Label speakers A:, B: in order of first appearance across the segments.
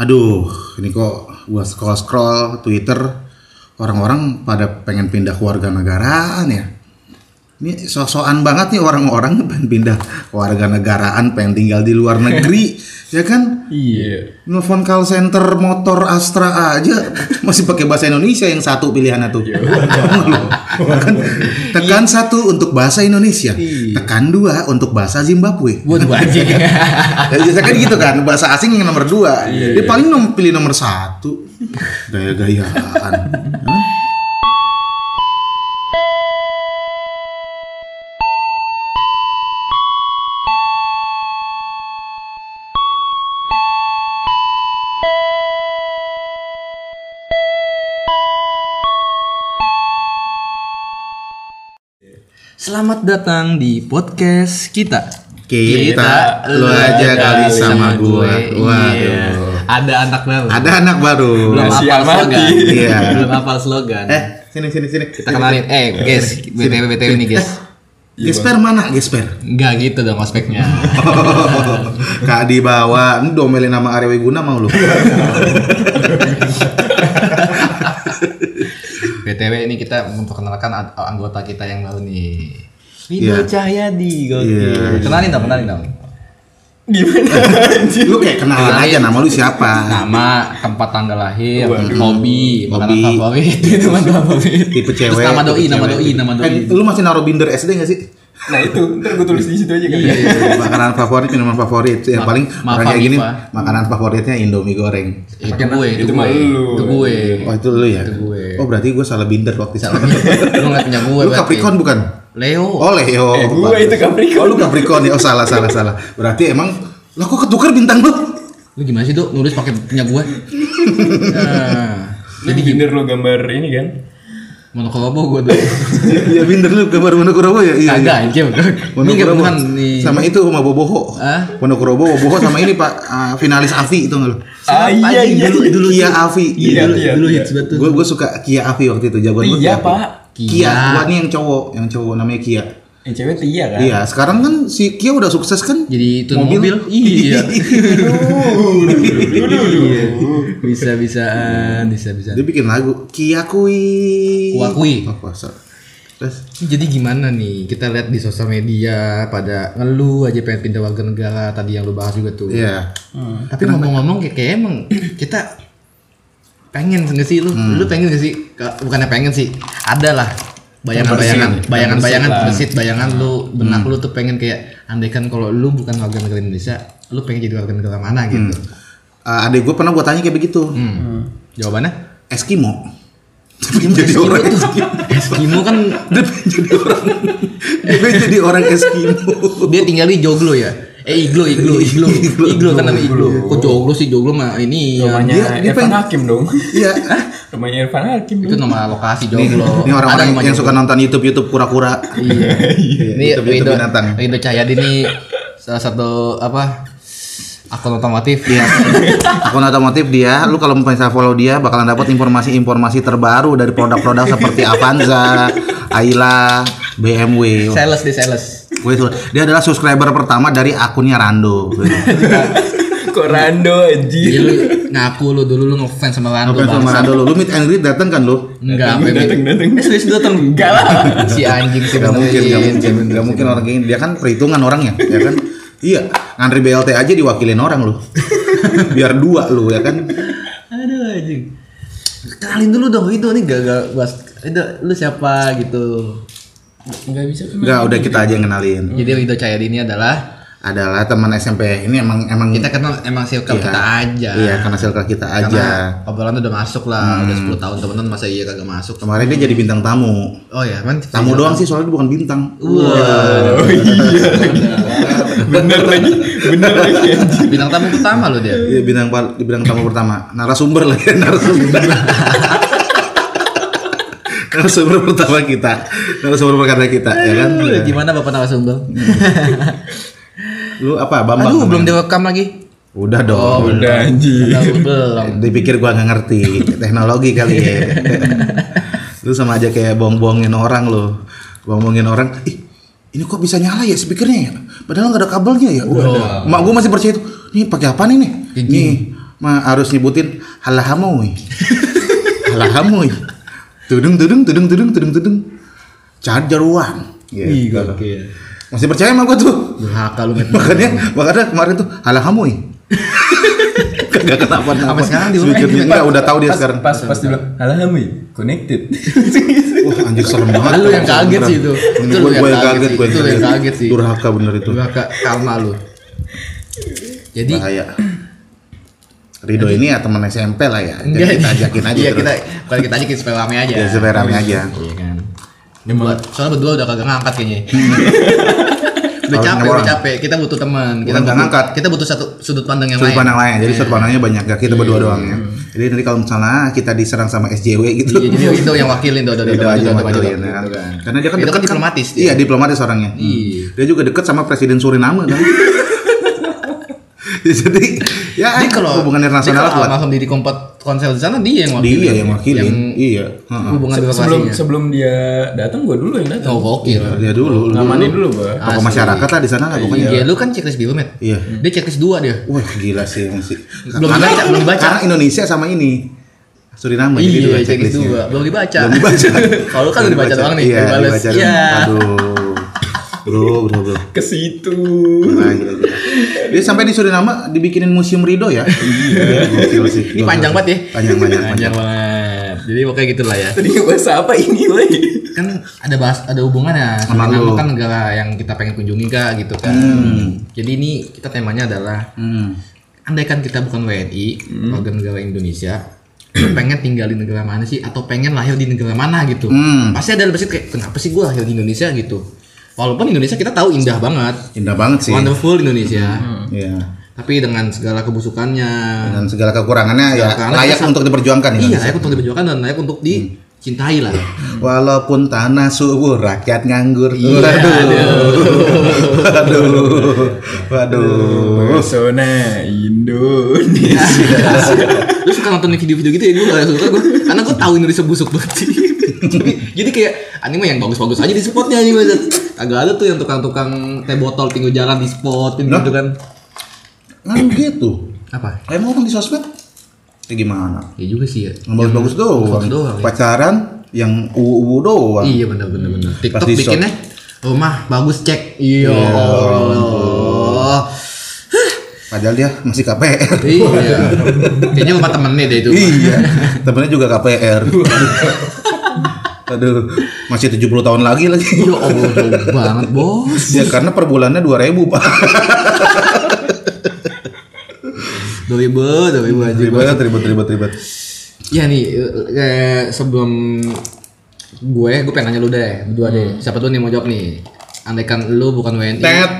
A: Aduh, ini kok gua scroll-scroll Twitter orang-orang pada pengen pindah warga negaraan ya. Ini sok-sokan banget nih orang-orang pengen pindah warga negaraan, pengen tinggal di luar negeri, ya kan?
B: Iya.
A: Nelfon call center motor Astra aja masih pakai bahasa Indonesia yang satu pilihan itu. tekan, tekan satu untuk bahasa Indonesia, tekan dua untuk bahasa Zimbabwe.
B: Buat gua aja.
A: Ya, biasanya kan gitu kan bahasa asing yang nomor dua dia paling nom pilih nomor satu gaya-gayaan Hah?
B: Selamat datang di podcast kita.
A: kita lu aja kali sama gua
B: Iya.
A: waduh
B: Ada anak baru.
A: ada anak baru
B: Belum
C: Nasi
B: hafal
C: amati.
B: slogan.
A: Iya.
B: Belum hafal slogan.
A: eh sini sini sini
B: Kita kenalin. Eh, guys, BTW BTW nih,
A: Eh.
B: guys.
A: Iya, gesper mana gesper
B: Enggak gitu dong ospeknya.
A: kak di bawah ini domelin nama Arya Wiguna mau lu
B: BTW ini kita memperkenalkan ad- anggota kita yang baru nih.
A: Iya.
B: Rido Cahyadi,
A: Iya.
B: gokil. Kenalin dong, kenalin dong.
A: lu kayak kenalan aja nama lu siapa
B: nama tempat tanggal lahir hobi makanan
A: Hobi.
B: favorit teman favorit
A: tipe cewek
B: Terus nama doi
A: tipe
B: nama
A: cewek.
B: doi nama doi
A: Eh, lu masih naruh binder SD gak sih
C: Nah itu, ntar gue tulis di situ aja kali. ya.
A: Iya, makanan favorit, minuman favorit. Yang
B: Ma-
A: paling
B: Maaf,
A: orang kayak gini,
B: Viva.
A: makanan favoritnya Indomie goreng.
B: itu gue itu,
C: Eh, Itu
B: gue
C: mah lu.
B: itu gue
A: Oh itu lu ya?
B: Itu gue.
A: Oh berarti gue salah binder waktu itu.
B: lu nggak punya gue
A: Lu
B: berarti.
A: Capricorn bukan?
B: Leo
A: Oh Leo.
C: Eh, gue
A: Bagus.
C: itu Capricorn.
A: Oh lu Capricorn ya? Oh salah salah salah. Berarti emang lah kok ketukar bintang lu?
B: lu gimana sih tuh nulis pakai punya gue nah,
C: Jadi gini lo gambar ini kan?
B: monokolobo gue tuh
A: Iya binder lu gambar Wonokromo ya? Iya.
B: kagak anjir ini kan
A: Wonokromo
B: bukan nih
A: sama itu sama Boboho.
B: Hah?
A: Wonokromo Boboho sama ini Pak ah, finalis Avi itu enggak lu?
C: Ah,
B: Siapa
C: iya,
B: anjing?
C: iya,
B: dulu
C: iya.
B: dulu
A: Kia
B: hits.
A: Avi.
C: Iya,
B: dulu,
C: iya,
B: dulu
C: iya.
B: hits banget tuh
A: Gue gue suka Kia Avi waktu itu jagoan gua
C: Iya
A: Kia Avi.
C: pak.
A: Kia,
B: Kia.
A: Wah, ini yang cowok, yang cowok namanya Kia.
C: Yang cewek Tia kan?
A: Iya, sekarang kan si Kia udah sukses kan?
B: jadi itu mobil, iya iya bisa bisaan bisa bisa
A: Dia bikin lagu Kia Kui.
B: Kua Kui.
A: Oh, puasa. Terus
B: jadi gimana nih kita lihat di sosial media pada ngeluh aja pengen pindah warga negara tadi yang lu bahas juga tuh
A: iya.
B: tapi ngomong-ngomong kayak, kayak emang kita pengen nggak sih lu lu pengen nggak sih Ke- bukannya pengen sih ada lah bayangan-bayangan
C: Terbersih.
B: bayangan-bayangan
C: Terbersih lah.
B: terbesit bayangan lu benak lu tuh pengen kayak andaikan kalau lu bukan warga negara Indonesia lu pengen jadi warga negara mana gitu
A: Eh, adek gue pernah gue tanya kayak begitu.
B: Hmm. jawabannya
A: Eskimo.
B: Eskimo,
A: jadi
B: Eskimo
A: orang
B: tuh. Eskimo kan
A: Dia pengen jadi orang. Dia pengen jadi orang Eskimo.
B: dia tinggal di joglo ya. Eh iglo iglo iglo iglo, kan namanya iglo. Kok joglo sih joglo mah ini ya.
C: Rumahnya
A: Dia- dia
C: Irfan
A: pengen-
C: Hakim dong.
A: Iya.
C: Rumahnya Irfan Hakim.
B: itu nama lokasi
A: Nih,
B: joglo.
A: ini
B: Ada
A: orang-orang
B: rumah
A: yang
B: joglo.
A: suka nonton YouTube YouTube kura-kura.
B: Iya. Ini
A: YouTube YouTube
B: Rido
A: binatang.
B: Rido Cahyadi ini salah satu apa akun otomotif.
A: Iya. Akun otomotif dia, lu kalau misalnya follow dia bakalan dapat informasi-informasi terbaru dari produk-produk seperti Avanza, Ayla, BMW.
B: Sales di sales.
A: Gue itu- dia adalah subscriber pertama dari akunnya Rando.
C: Kok rando
B: Jadi
C: anjir.
B: lu ngaku lu dulu lu ngefans sama Rando.
A: Ngapain sama
B: bangsa.
A: Rando lu? Lu meet and greet datang kan lu?
B: Enggak,
C: Dateng,
B: Febri.
C: dateng, dateng.
B: Iya, Eh, serius datang enggak lah. Si anjing sih Iya,
A: Gak mungkin, gak
B: benerin.
A: mungkin, gak mungkin orang kayak gini. Dia kan perhitungan orangnya, ya kan? Iya, ngantri BLT aja diwakilin orang lu. Biar dua lu ya kan?
B: Nah, Aduh anjing. Kenalin dulu dong itu nih gak gak gua itu lu siapa gitu.
C: Enggak bisa kan?
A: Enggak,
B: iya.
A: udah kita aja yang kenalin.
B: Jadi Rido Cahyadi ini adalah
A: Adalah teman SMP. Ini emang emang
B: kita kenal emang circle
A: Iya.
B: kita aja.
A: Iya, Hmm. karena circle kita aja.
B: Karena obrolan tuh udah masuk lah, udah 10 tahun teman-teman masa iya kagak masuk.
A: Kemarin dia jadi bintang tamu.
B: Oh ya, kan
A: Tamu doang sih soalnya dia bukan bintang.
B: Wah,
C: Bener lagi, bener lagi anjir.
B: bintang tamu pertama lo dia.
A: Iya, bintang pal- di bintang tamu pertama. Narasumber lah ya, narasumber. narasumber pertama kita. Narasumber pertama kita, ya kan?
B: Aduh, Gimana Bapak narasumber?
A: Hmm. Lu apa, Bambang?
B: Aduh, belum Oh, direkam lagi.
A: Udah dong.
C: Udah anjir.
B: Tahu belum.
A: Dipikir gua nggak ngerti teknologi kali ya. lu sama aja kayak bohong-bohongin orang lu. Bohong-bohongin orang, ih ini kok bisa nyala ya speakernya ya? Padahal nggak ada kabelnya ya. Udah. Mak gua masih percaya itu. Nih pakai apa nih nih? Nih mah harus nyebutin halahamoy. halahamoy. Tudung tudung tudung tudung tudung tudung. Cajaruan.
C: Ih,
A: Iya.
C: gokil.
A: Masih percaya sama gua tuh.
B: Durhaka lu met.
A: Makanya makanya kemarin tuh halahamoy. Kagak kenapa-napa.
B: Sampai sekarang diulang.
A: Sejujurnya enggak udah tahu dia
C: Pas-
A: sekarang.
C: Pas pas dia bilang, "Alah, Ami, connected."
A: Wah, anjir serem banget.
B: Lu yang kaget sih itu.
A: Ini
B: Itu
A: gua
B: lu yang
A: gua yang
B: kaget
A: kaget,
B: sih.
A: gua
B: Itu lu yang kaget sih.
A: Durhaka bener itu.
B: Durhaka karma lu. Jadi
A: Bahaya. Rido ini ya teman SMP lah ya. Jadi
B: enggak
A: kita ajakin aja
B: Iya,
A: terus.
B: kita kalau kita ajakin supaya rame aja.
A: Ya, supaya rame aja.
B: Iya kan. Buat, soalnya berdua udah kagak ngangkat kayaknya. udah
A: Kalau
B: capek,
A: enam
B: udah
A: orang.
B: capek. Kita butuh teman.
A: Bukan
B: Kita
A: nggak
B: butuh-
A: ngangkat.
B: Kita butuh satu sudut pandang yang
A: sudut
B: lain.
A: pandang lain. Jadi
B: Iya.
A: sudut pandangnya banyak gak kita berdua doang ya. Jadi nanti kalau misalnya kita diserang sama SJW gitu.
B: Iya, jadi itu yang wakilin tuh, udah
A: Rido aja
B: udah
A: wakilin ya kan. Karena dia kan dekat
B: Itu Gitu kan diplomatis dia.
A: Iya, diplomatis orangnya.
B: Iya.
A: Dia juga dekat sama presiden Suriname kan. Ya, Jadi ya
B: Jadi kalau
A: hubungan internasional
B: jadi kalau
A: kuat.
B: almarhum Didi Kompot konsel di sana dia yang wakilin.
A: Dia yang wakilin. Iya. Heeh.
B: hubungan
C: Se- Sebelum
B: birokrasinya.
C: sebelum dia datang, gua dulu yang datang.
B: ya. Oh, gokil.
A: Dia dulu.
C: Ngamanin dulu, Bang.
A: Tokoh
B: Asli.
A: masyarakat lah di sana lah pokoknya.
B: Iya, lu kan checklist biru, Met.
A: Iya.
B: Dia checklist 2 dia.
A: Wah gila sih masih.
B: Belum dibaca, belum dibaca.
A: Karena Indonesia sama ini Suriname jadi dua
B: Iya,
A: gitu kan
B: checklist
A: checklistnya.
B: 2. Belum dibaca.
A: Belum dibaca.
B: Kalau lu kan udah dibaca doang nih,
A: Iya,
B: dibales.
A: dibaca.
B: Iya.
A: Aduh. Bro, bro, bro.
C: Ke situ.
A: Nah, gila, gila. Dia sampai di Suriname dibikinin museum Rido ya. Iya. Gokil sih.
B: Ini panjang banget ya.
A: Panjang banyak.
B: Panjang
A: Panjang.
B: banget. Jadi pokoknya gitulah ya.
C: Tadi bahasa apa ini, woi?
B: Kan ada bahas ada hubungan ya
A: Sama
B: Suriname
A: lu.
B: kan negara yang kita pengen kunjungi kak gitu kan. Jadi ini kita temanya adalah
A: Hmm.
B: andaikan kita bukan WNI, warga negara Indonesia, lu pengen tinggal di negara mana sih atau pengen lahir di negara mana gitu.
A: Hmm.
B: Pasti ada berpikir kayak kenapa sih gue lahir di Indonesia gitu. Walaupun Indonesia kita tahu indah banget,
A: Indah banget sih.
B: wonderful Indonesia.
A: Iya.
B: Tapi dengan segala kebusukannya,
A: Dan segala kekurangannya ya
B: Karena
A: layak
B: kita-
A: untuk diperjuangkan ya.
B: iya layak untuk diperjuangkan dan layak
A: Hmm.
B: untuk dicintai lah.
A: Walaupun tanah subur, rakyat nganggur.
B: Iya.
A: Waduh. Waduh. Waduh.
C: Persona Indonesia.
B: Lu suka nonton video-video gitu ya gue gak suka gue karena gue tahu Indonesia busuk banget sih. jadi, jadi kayak anime yang bagus-bagus aja di spotnya anime. Agak ada tuh yang tukang-tukang teh botol pinggir jalan di spot
A: Nah.
B: gitu kan.
A: Kan gitu.
B: Apa?
A: Emang orang di sosmed? Ya gimana?
B: Ya juga sih ya.
A: Yang bagus-bagus doang.
B: bagus doang, ya.
A: Pacaran yang uwu-uwu doang.
B: Iya benar benar benar. TikTok
A: Oh. Pas di shop.
B: bikinnya rumah bagus cek. Iya. Oh. Allah.
A: Padahal dia masih KPR.
B: Iya. Kayaknya rumah temennya deh itu.
A: iya. Temennya juga KPR. Aduh, masih 70 tahun lagi lagi.
B: Ya Allah jauh banget bos.
A: Ya karena per bulannya 2000, Pak.
B: Dua ribu, dua ribu aja.
A: Ribet, ribet, ribet, ribet.
B: Ya nih, eh, sebelum gue, gue pengen nanya lu deh, berdua deh. Siapa dulu nih mau jawab nih? Andaikan lu bukan WNI.
A: Hmm. Tet.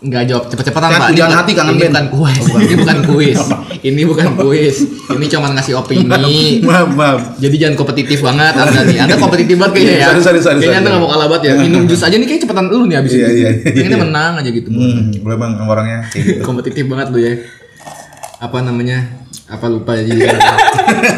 B: Enggak jawab cepet-cepetan,
A: Tet,
B: Pak. Ini
A: hujan
B: bukan-
A: hati, kangen Oh,
B: ini
A: band.
B: bukan kuis. ini bukan kuis. ini bukan kuis. Ini cuma ngasih opini.
A: Maaf, maaf.
B: Jadi jangan kompetitif banget Anda nih. Anda kompetitif banget kayaknya
A: Iya,
B: ya.
A: Sorry, sorry, sorry,
B: Kayaknya
A: sorry.
B: Anda nggak mau kalah banget ya. Minum jus aja nih kayak cepetan lu nih abis
A: Iya,
B: ini.
A: iya, iya.
B: Pengennya menang aja gitu.
A: Hmm, gue emang orangnya kayak gitu.
B: Kompetitif banget lu ya. Apa namanya? Apa lupa ya, jadi.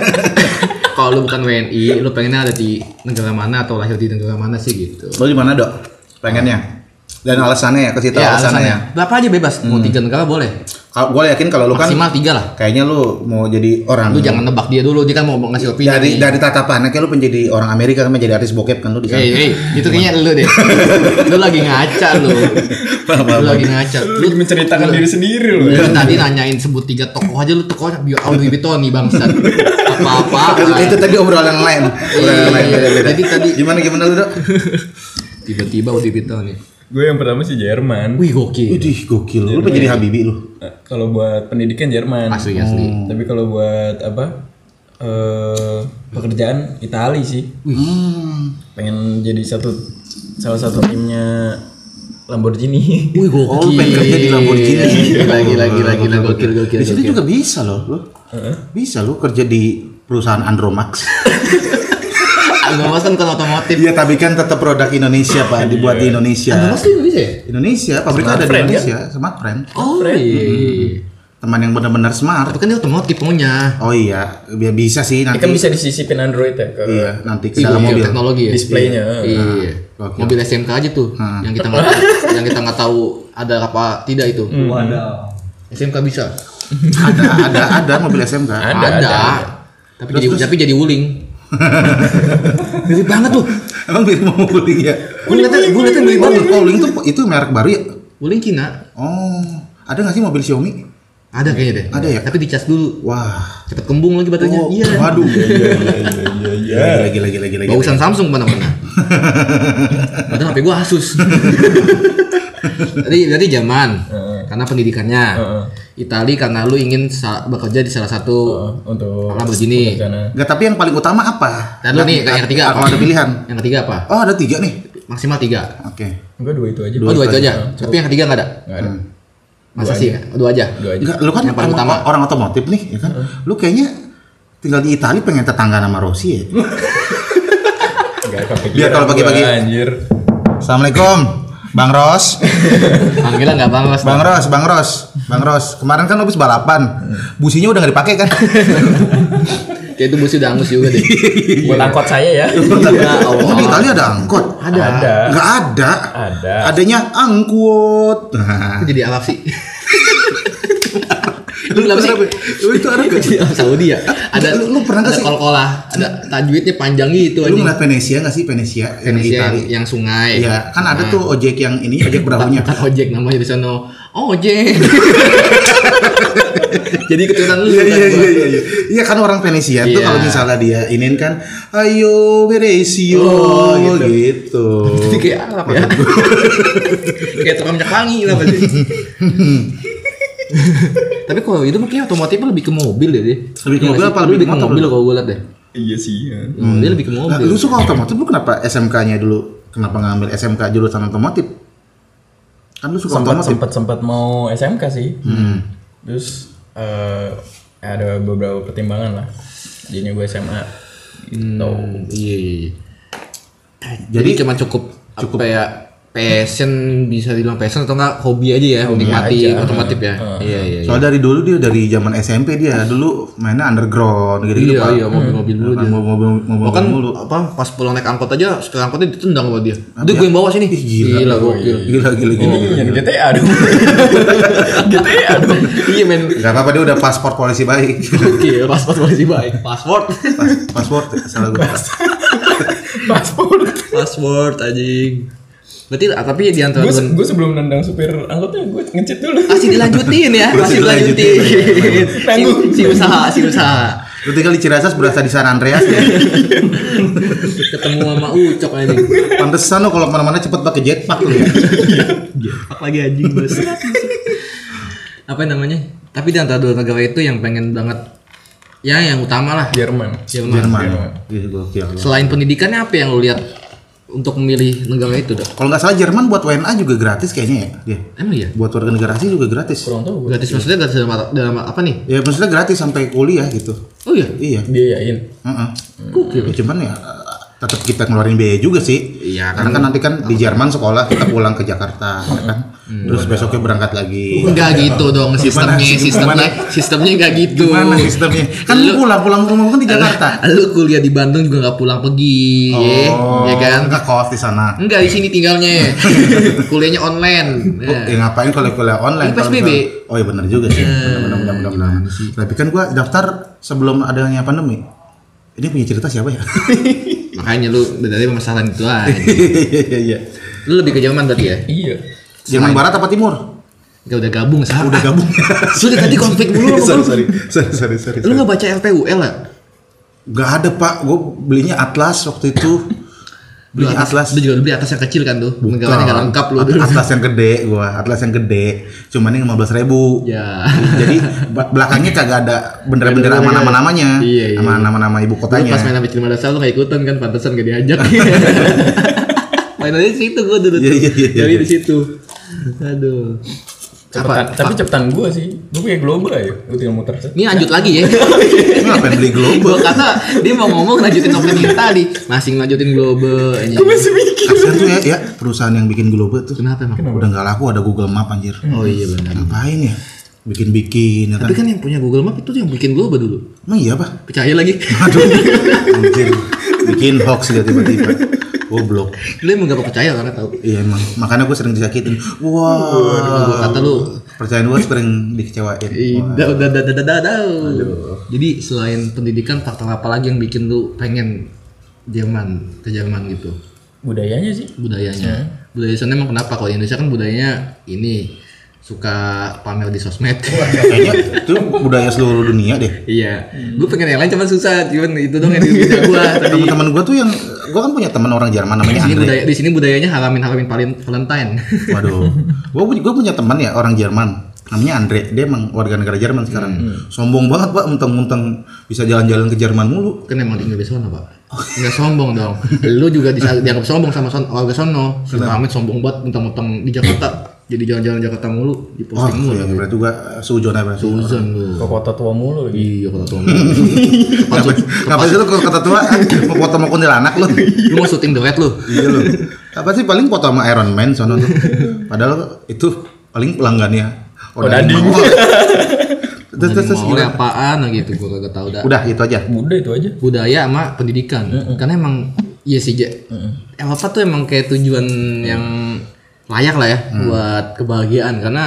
B: Kalau lu bukan WNI, lu pengennya ada di negara mana atau lahir di negara mana sih gitu.
A: Lo di mana, Dok? Pengennya. Dan alasannya ya, kasih tau alasannya. ya.
B: Berapa aja bebas? Mau tiga negara boleh.
A: Kalau gue yakin kalau lu kan
B: Maksimal tiga lah.
A: kayaknya lu mau jadi orang.
B: Lu jangan nebak dia dulu, dia kan mau ngasih opini.
A: Hmm. dari
B: nih.
A: dari tatapannya kayak lu menjadi orang Amerika kan jadi artis bokep kan lu di sana.
B: Hey, hey, itu kayaknya lu deh. lu lagi ngaca lu. lu lagi ngaca.
C: Lu lagi menceritakan diri sendiri lu.
A: ya.
B: Lu tadi nanyain sebut tiga tokoh aja lu tokohnya bio Louis Vuitton nih bangsat. Apa-apa.
A: itu tadi obrolan yang lain. Obrolan yang lain
B: Iya, iya, iya.
A: beda-beda.
B: Jadi tadi-
A: gimana gimana lu, Dok?
B: Tiba-tiba Louis Vuitton nih.
C: Gue yang pertama sih Jerman.
B: Wih gokil.
A: Udih, gokil. Lu pengen jadi Habibi lu.
C: Eh, Kalau buat pendidikan Jerman. Hmm.
B: Asli asli.
C: Tapi kalau buat apa? eh pekerjaan Itali sih.
A: Hmm.
C: Pengen jadi satu salah satu timnya Lamborghini.
B: Wih gokil.
A: Oh, pengen kerja di Lamborghini.
B: Gila gila gila gila gokil gokil.
A: Di sini
B: gokil.
A: juga bisa loh, lu. Bisa lu kerja di perusahaan Andromax.
B: Andromas kan bukan otomotif.
A: Iya, tapi kan tetap produk Indonesia, Pak, dibuat di Indonesia.
B: Andromas tuh Indonesia ya?
A: Indonesia, pabriknya ada di
C: Smartfren,
A: Indonesia, smart friend.
B: Oh iya.
A: Teman yang benar-benar smart.
B: Tapi kan dia otomotif punya.
A: Oh iya, biar bisa sih
C: Ya
A: nanti.
C: kan bisa disisipin Android ya ke
A: Iya, nanti ke dalam mobil.
B: teknologi ya.
C: displaynya.
B: Iya. Ah.
A: Gokil.
B: Mobil SMK aja tuh yang kita nggak yang kita nggak tahu ada apa tidak itu.
D: Wadaw.
B: SMK bisa.
A: ada ada ada mobil SMK
C: Ada,
B: Ada.
C: ada.
B: Tapi jadi tapi jadi wuling. mirip banget tuh.
A: emang mirip mau wuling ya
B: Wuling,
A: gue liatnya
B: wuling,
A: gue liatnya mirip
B: wuling,
A: banget oh wuling tuh itu merek baru ya
B: Wuling Cina.
A: oh ada nggak sih mobil Xiaomi
B: Ada kayaknya deh.
A: Ada ya?
B: Tapi dicas dulu.
A: wah
B: Cepet kembung lagi baterainya.
A: oh,
B: iya.
A: waduh lagi
C: Iya,
A: lagi lagi lagi lagi
B: Bausan Samsung mana-mana. Padahal HP gua Asus. Jadi berarti zaman karena pendidikannya.
C: Heeh.
B: Itali karena lu ingin sa- bekerja di salah satu
C: Oh, untuk
B: Alah, begini.
C: karena
A: Nggak, tapi yang paling utama apa
B: Dan lu nih, kayak yang ketiga apa?
A: kalau ada pilihan
B: yang ketiga apa?
A: oh ada tiga nih
B: Maksimal tiga.
A: oke
C: enggak dua itu aja
B: oh dua itu aja. Tapi yang ketiga nggak ada.
C: enggak ada
B: Masa sih? Oh, Dua aja.
C: dua aja
A: Enggak, lu kan
B: Yang paling
A: orang,
B: utama.
A: orang otomotif nih, ya kan? Lu kayaknya tinggal di Italia pengen tetangga sama Rossi ya.
C: enggak kepikiran
A: Biar kalau pagi-pagi-
C: gua, anjir
A: Assalamualaikum. Bang Ros,
B: Panggilan nggak bang Mas?
A: Bang Ros, Bang Ros, Bang Ros. Kemarin kan habis balapan, businya udah nggak dipakai kan?
B: Kayak itu busi udah angus juga
A: Iya,
B: deh.
C: buat angkot saya ya
B: Ya
A: Oh, di
B: Allah.
A: Italia ada angkot?
B: Ada.
C: Ada.
A: Nggak ada.
C: Ada.
A: Adanya angkot. Nah.
B: Aku jadi Arab sih. lu kenapa sih?
A: Kenapa? Lu itu ada nggak?
B: Jadi Arab Saudi ya. Ada
A: Lu- lu pernah nggak
B: ada
A: sih?
B: kol-kolah, ada tajwidnya panjang
A: Lu
B: gitu anjing.
A: ngeliat Venesia nggak sih Venesia yang di
B: Indonesia yang,
A: Italia?
B: yang sungai.
A: Iya, kan ada tuh ojek yang ini ojek berahunya.
B: Bukan ojek namanya di sana. Oh, ojek. jadi keturunan lu
A: Iya
B: kan,
A: iya
B: gua.
A: iya iya. Iya kan orang Venesia tuh
B: Iya.
A: kalau misalnya dia inin kan ayo Venecio
B: Oh, gitu.
A: gitu.
B: Jadi kayak Arab ya. kayak tukang minyak wangi lah pasti. Tapi kalau itu mungkin otomotifnya lebih ke mobil ya deh.
A: Lebih ke
B: Iya
A: mobil
B: nggak
A: apa
B: sih?
A: lebih
B: Lebih
A: ke
B: ke
A: motor
B: mobil
A: lu?
B: kalau gue liat deh.
C: iya sih ya.
B: Hmm, Dia lebih ke mobil.
A: Nah, lu suka otomotif lu kenapa SMK-nya dulu? Kenapa ngambil SMK jurusan otomotif? Kan lu suka
C: sempat
A: otomotif.
C: sempat sempat mau SMK sih
A: Hmm.
C: terus eh, ada beberapa pertimbangan lah jadinya gue SMA gitu
B: Hmm, iya, iya, iya. Jadi,
A: Jadi
B: cuma cukup cukup kayak passion bisa dibilang passion atau enggak hobi aja ya menikmati
C: aja.
B: otomotif ya.
A: Ah.
B: Iya iya. iya.
A: soal dari dulu dia dari zaman SMP dia dulu mainnya underground gitu-gitu
B: Iya
A: Pak. Nah,
B: iya Oh, mobil-mobil dulu dia.
A: Main Mobil-mobil mobil
B: Bahkan
A: mulu.
B: kan apa pas pulang naik angkot aja setelah angkotnya ditendang sama dia. Itu gue yang bawa sini. ya? Gila, iya. gokil.
A: Gila gila gila.
C: ini yang GTA dong GTA dong
B: Gitu Iya men.
A: Gak apa-apa dia udah paspor polisi baik.
B: Gokil, paspor polisi baik. Password.
A: Pas, paspor salah gue.
C: paspor
B: Password anjing. Berarti ah, tapi di antara
C: gue
B: dua-
C: gue sebelum nendang supir angkotnya gue ngecit dulu
B: masih dilanjutin ya,
A: Masih
B: masih dilanjutin.
C: Tangguh.
B: si, si usaha, si usaha.
A: Lu tinggal di Ciracas berasa di San Andreas ya.
B: Ketemu sama Ucok anjing.
A: Pantesan lo kalau kemana-mana cepet pakai jetpack lo ya.
B: Pak lagi anjing bos. Apa namanya? Tapi di antara dua negara itu yang pengen banget ya yang utama lah.
C: Jerman
B: Jerman.
A: Jerman. Ih, gokil.
B: Selain pendidikannya apa yang lu lihat untuk memilih negara itu, Dok?
A: Kalau nggak salah Jerman buat WNA juga gratis kayaknya ya. Dia.
B: Emang iya?
A: Buat warga negara asing juga gratis.
C: kurang tahu gue
B: Gratis maksudnya gratis dalam, dalam apa nih?
A: Ya maksudnya gratis sampai kuliah gitu.
B: Oh iya.
A: Iya.
C: biayain
A: Heeh.
B: Gokil.
A: Ya, cuman ya eh, tetap kita ngeluarin biaya juga sih.
B: Iya,
A: Karena kan nanti kan di Jerman sekolah kita pulang ke Jakarta, ya kan. Terus besoknya berangkat lagi.
B: Enggak gitu dong sistemnya,
A: Gimana?
B: sistemnya, sistemnya enggak gitu.
A: Gimana sistemnya? Kan lu pulang-pulang ke rumah kan di Jakarta.
B: Lu kuliah di Bandung juga nggak pulang
A: Oh.
B: pergi,
A: iya,
B: ya, ya kan?
A: Enggak kos di sana.
B: Enggak di sini tinggalnya. Kuliahnya online.
A: Oh,
B: Nah.
A: ya ngapain kalau kuliah online?
B: Ini
A: Kalau
B: PSBB.
A: misalnya- Oh iya benar juga sih. Benar benar benar benar. Tapi kan gua daftar sebelum adanya pandemi. Ini punya cerita siapa ya?
B: Makanya lu dari permasalahan itu aja.
A: Iya iya.
B: Lu lebih ke Jerman tadi ya?
C: iya
A: Jerman Barat apa Timur?
B: Enggak udah gabung sama.
A: Udah gabung.
B: Sudah tadi konflik dulu sama
A: sorry,
B: lu.
A: sorry, sorry, sorry, sorry.
B: Lu enggak baca LPUL ya?
A: Gak ada pak, gue belinya Atlas waktu itu.
B: Beli
A: Belinya
B: atas,
A: Atlas.
B: lu juga beli atas yang kecil kan tuh. Negaranya enggak lengkap lu.
A: At- Atlas yang gede gua, Atlas yang gede. Cuman yang 15 ribu.
B: Ya.
A: Jadi ba- belakangnya kagak ada bendera-bendera sama nama-namanya.
B: Iya, iya.
A: Sama nama-nama ibu
B: Lu
A: kotanya.
B: pas main sampai Cilma Dasar lu gak ikutan kan, pantesan gak diajak. main aja di situ gua dulu.
A: Iya, iya, iya,
B: Jadi
A: iya.
B: di situ. Aduh.
C: Cepetan,
B: Apa?
C: tapi cepetan gue sih gue punya globa ya gue tinggal muter
B: Ini lanjut lagi ya.
A: Lu ngapain beli
B: Gua
A: global?
B: kata dia mau ngomong lanjutin opening tadi, masih lanjutin globe. anjing.
C: mikir
A: Kasian tuh ya, ya, perusahaan yang bikin global tuh.
B: Kenapa emang?
A: Udah nggak laku ada Google Map anjir.
B: Oh iya benar.
A: Ngapain ya? Bikin-bikin ya kan.
B: Tapi kan yang punya Google Map itu yang bikin globe dulu.
A: Emang iya pak?
B: Percaya lagi.
A: Aduh. Anjir. Bikin hoax dia tiba-tiba. Goblok.
B: Lu emang gak percaya karena tahu.
A: Iya emang. Makanya gue sering disakitin. Wah.
B: Gua kata lu
A: Percayaan gue sering dikecewain.
B: Ida, udah, udah, udah, udah, udah.
A: Aduh.
B: Jadi selain pendidikan, faktor apa lagi yang bikin lu pengen Jerman ke Jerman gitu
C: budayanya sih
B: budayanya? Budaya sana emang kenapa? Kalau di Indonesia kan budayanya ini suka pamer di
A: Eh,
B: sosmed.
A: Kayaknya itu budaya seluruh dunia deh.
B: iya, gue pengen yang lain cuman susah, cuman itu dong yang di Indonesia gue tadi.
A: Teman-teman gue tuh yang gue kan punya teman orang Jerman
B: Di
A: namanya
B: sini
A: Andre.
B: budaya, di sini budayanya haramin haramin paling Valentine.
A: Waduh, gue gue punya teman ya orang Jerman namanya Andre dia emang warga negara Jerman sekarang sombong banget pak mentang-mentang bisa jalan-jalan ke Jerman mulu
B: kan emang tinggal di sana pak nggak sombong dong lu juga disa- dianggap sombong sama son warga sono si Muhammad sombong banget mentang-mentang di Jakarta jadi jalan-jalan Jakarta mulu di
A: oh
B: posting mulu
A: iya, berarti gue sujon apa sih
B: Susan lu
C: ke kota tua mulu lagi
B: iya kata tuan
A: ngapain ngapain sih lu kalau kata tua kan? mau foto mau kuntilanak lu
B: lu mau syuting the red lu
A: iya lu apa sih paling foto sama Iron Man sono tuh padahal itu paling pelanggannya
C: Oh, Dading.
A: Mall. terus terus terus
B: mau
A: gimana?
B: apaan lah gitu gua kagak tahu dah
A: udah itu aja
C: udah itu aja
B: budaya sama pendidikan karena emang iya sih Ja. Eropa tuh emang kayak tujuan yang layak lah ya
A: Mm.
B: buat kebahagiaan karena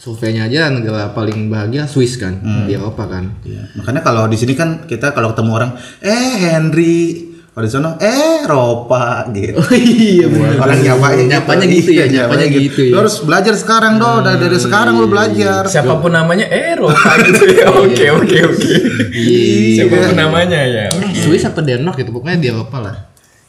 B: surveinya aja negara paling bahagia Swiss kan
A: Mm.
B: di Eropa kan
A: Iya. Makanya kalau di sini kan kita kalau ketemu orang, eh Henry, kalau di sana eh Ropa gitu.
B: Oh iya
A: orang Jawa ya.
B: Nyapanya gitu ya, nyapanya gitu ya. Hmm.
A: Lu harus belajar sekarang do, dari, dari sekarang lu belajar.
C: siapapun namanya Ero gitu
B: Iya,
C: ya oke oke oke
A: Iya.
C: siapapun namanya ya oke.
B: Swiss apa Denmark gitu pokoknya di Eropa lah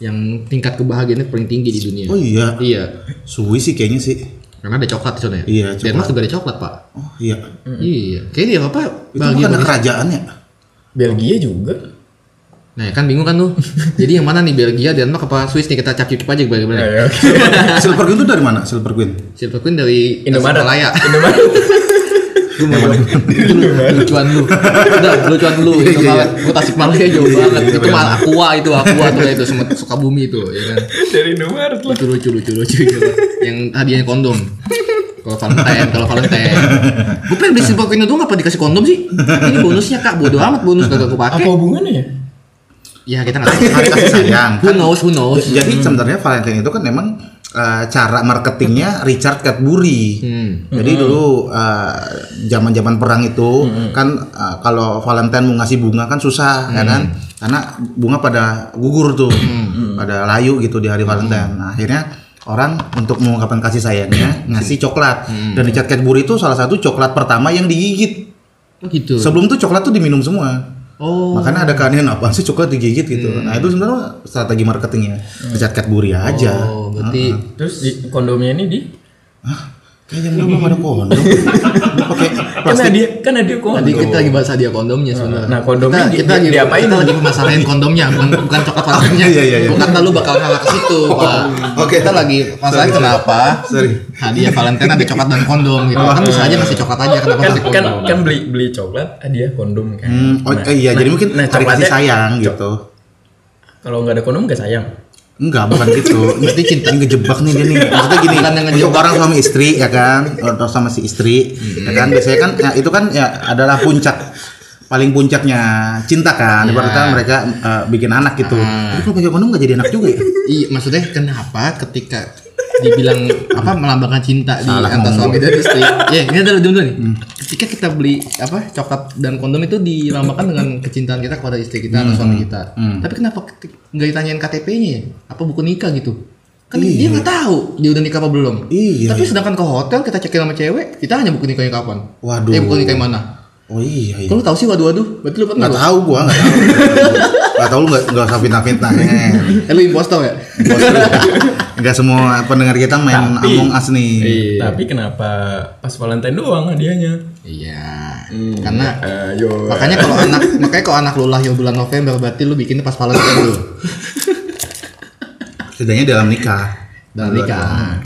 B: yang tingkat kebahagiaannya paling tinggi di dunia.
A: Oh iya,
B: Iya,
A: Swiss sih kayaknya sih.
B: karena ada coklat di sana ya.
A: Iya, coklat.
B: Denmark juga ada coklat pak.
A: Oh iya,
B: Iya, kayak di Eropa
A: itu bukan
B: bahagia
A: ada
B: banget.
A: kerajaan ya?
C: Belgia juga
B: Nah kan bingung kan lu. Jadi yang mana nih Belgia, Denmark apa Swiss nih kita cap-cip aja
A: Eh,
C: Ya,
B: bagaimana.
C: ya, oke.
A: Silver Queen itu dari mana? Silver Queen.
B: Silver Queen dari
C: Indomaret.
B: Tasikmalaya.
C: Indomaret.
B: Lu mau lucuan lu. Udah, lucuan
A: Iya,
B: lu.
A: iya, iya.
B: Indomaret. Gua Tasikmalaya jauh banget.
A: iya,
B: Itu mah Aqua itu, Aqua tuh itu sama Sukabumi itu, ya kan.
C: Dari Indomaret lah.
B: Itu lucu lucu lucu gitu. Yang hadiahnya kondom. Kalau Valentine, kalau Valentine. Gue pengen beli Silver Queen itu ngapa dikasih kondom sih? Ini bonusnya Kak, bodo amat bonus kagak
C: Apa
B: kepake.
C: hubungannya ya?
B: Ya kita enggak tahu.
A: Hari kasih sayang.
B: Who knows, who knows.
A: Jadi sebenarnya Valentine itu kan memang eh, cara marketingnya Richard
B: Hmm.
A: Cadbury. Jadi dulu eh, zaman-zaman perang itu kan eh, kalau Valentine mau ngasih bunga kan susah ya kan? Karena bunga pada gugur tuh, pada layu gitu di hari Valentine. Nah, akhirnya orang untuk mengungkapkan kasih sayangnya ngasih coklat. Dan Richard Cadbury itu salah satu coklat pertama yang digigit.
B: Oh gitu.
A: Sebelum tuh coklat tuh diminum semua.
B: Oh. Mm.
A: Makanya ada keanehan apa sih coklat digigit gitu. Nah itu sebenarnya strategi ya. marketingnya. Richard Cadbury aja.
B: Oh, berarti
A: Ah.
C: Terus di kondomnya ini di
A: Kayaknya yang belum ada kondom. Lu pakai
C: kan dia kan dia
B: tadi
C: kondom.
B: kita lagi bahas hadiah kondomnya sebenarnya.
C: Nah, kondomnya
B: kita,
C: di-
B: kita,
C: di-
B: lagi
C: diapain?
B: Kita lagi masalahin kondomnya, bukan bukan coklat valentine
A: iya, iya, iya.
B: Bukan lu bakal ngalah ke situ, Pak.
A: oke.
B: Kita lagi masalahin kenapa
A: Sorry. Oh.
B: hadiah Valentine ada coklat dan kondom gitu. Kan bisa aja ngasih coklat aja kenapa
C: kan
B: ngasih
C: kan
B: kondom?
C: kan beli beli coklat hadiah kondom kan.
A: Hmm, oh, eh, iya, jadi mungkin
C: nah,
A: hari kasih
C: coklatnya-
A: sayang gitu.
C: Kalau nggak ada kondom nggak sayang.
A: Enggak, bukan gitu. Berarti cinta ini ngejebak nih dia nih. Maksudnya gini,
B: Bukan yang
A: untuk
B: ngejebak.
A: orang suami istri ya kan, atau sama si istri ya kan biasanya kan ya, itu kan ya adalah puncak paling puncaknya cinta kan.
B: Iya.
A: Ibaratnya mereka eh, bikin anak gitu.
C: Hmm.
A: Tapi
B: Ah.
A: kalau pakai kondom nggak jadi anak juga ya?
B: Iya, maksudnya kenapa ketika dibilang apa melambangkan cinta
A: Salah
B: di antara
A: ngomong. Hmm.
B: suami dan istri. Ya, ini adalah dulu nih. Ketika kita beli apa coklat dan kondom itu dilambangkan dengan kecintaan kita kepada istri kita
A: Hmm,
B: atau suami kita. Tapi kenapa keti- nggak ditanyain KTP-nya ya? Apa buku nikah gitu? Kan dia nggak tahu dia udah nikah apa belum.
A: Iya,
B: Tapi sedangkan ke hotel kita cekin sama cewek, kita hanya buku nikahnya kapan?
A: Waduh.
B: Eh, buku nikahnya mana?
A: Oh iya iya.
B: Kalau lu tahu sih waduh-waduh, berarti lu pernah
A: Nggak
B: lu?
A: tahu gua, nggak tahu. Nggak tahu lu nggak nggak usah fitnah-fitnah. Eh,
B: Eh, lu impostor ya?
A: bos lu. Nggak semua pendengar kita main
C: Tapi- Iya.
A: Among Us nih.
C: Tapi kenapa pas Valentine doang hadiahnya?
B: Iya.
A: Hmm.
B: Karena
C: Ayo.
B: Makanya kalau anak makanya kalau anak lu lahir bulan November berarti lu bikinnya pas Valentine lu.
A: Setidaknya dalam nikah.
B: Dalam nikah.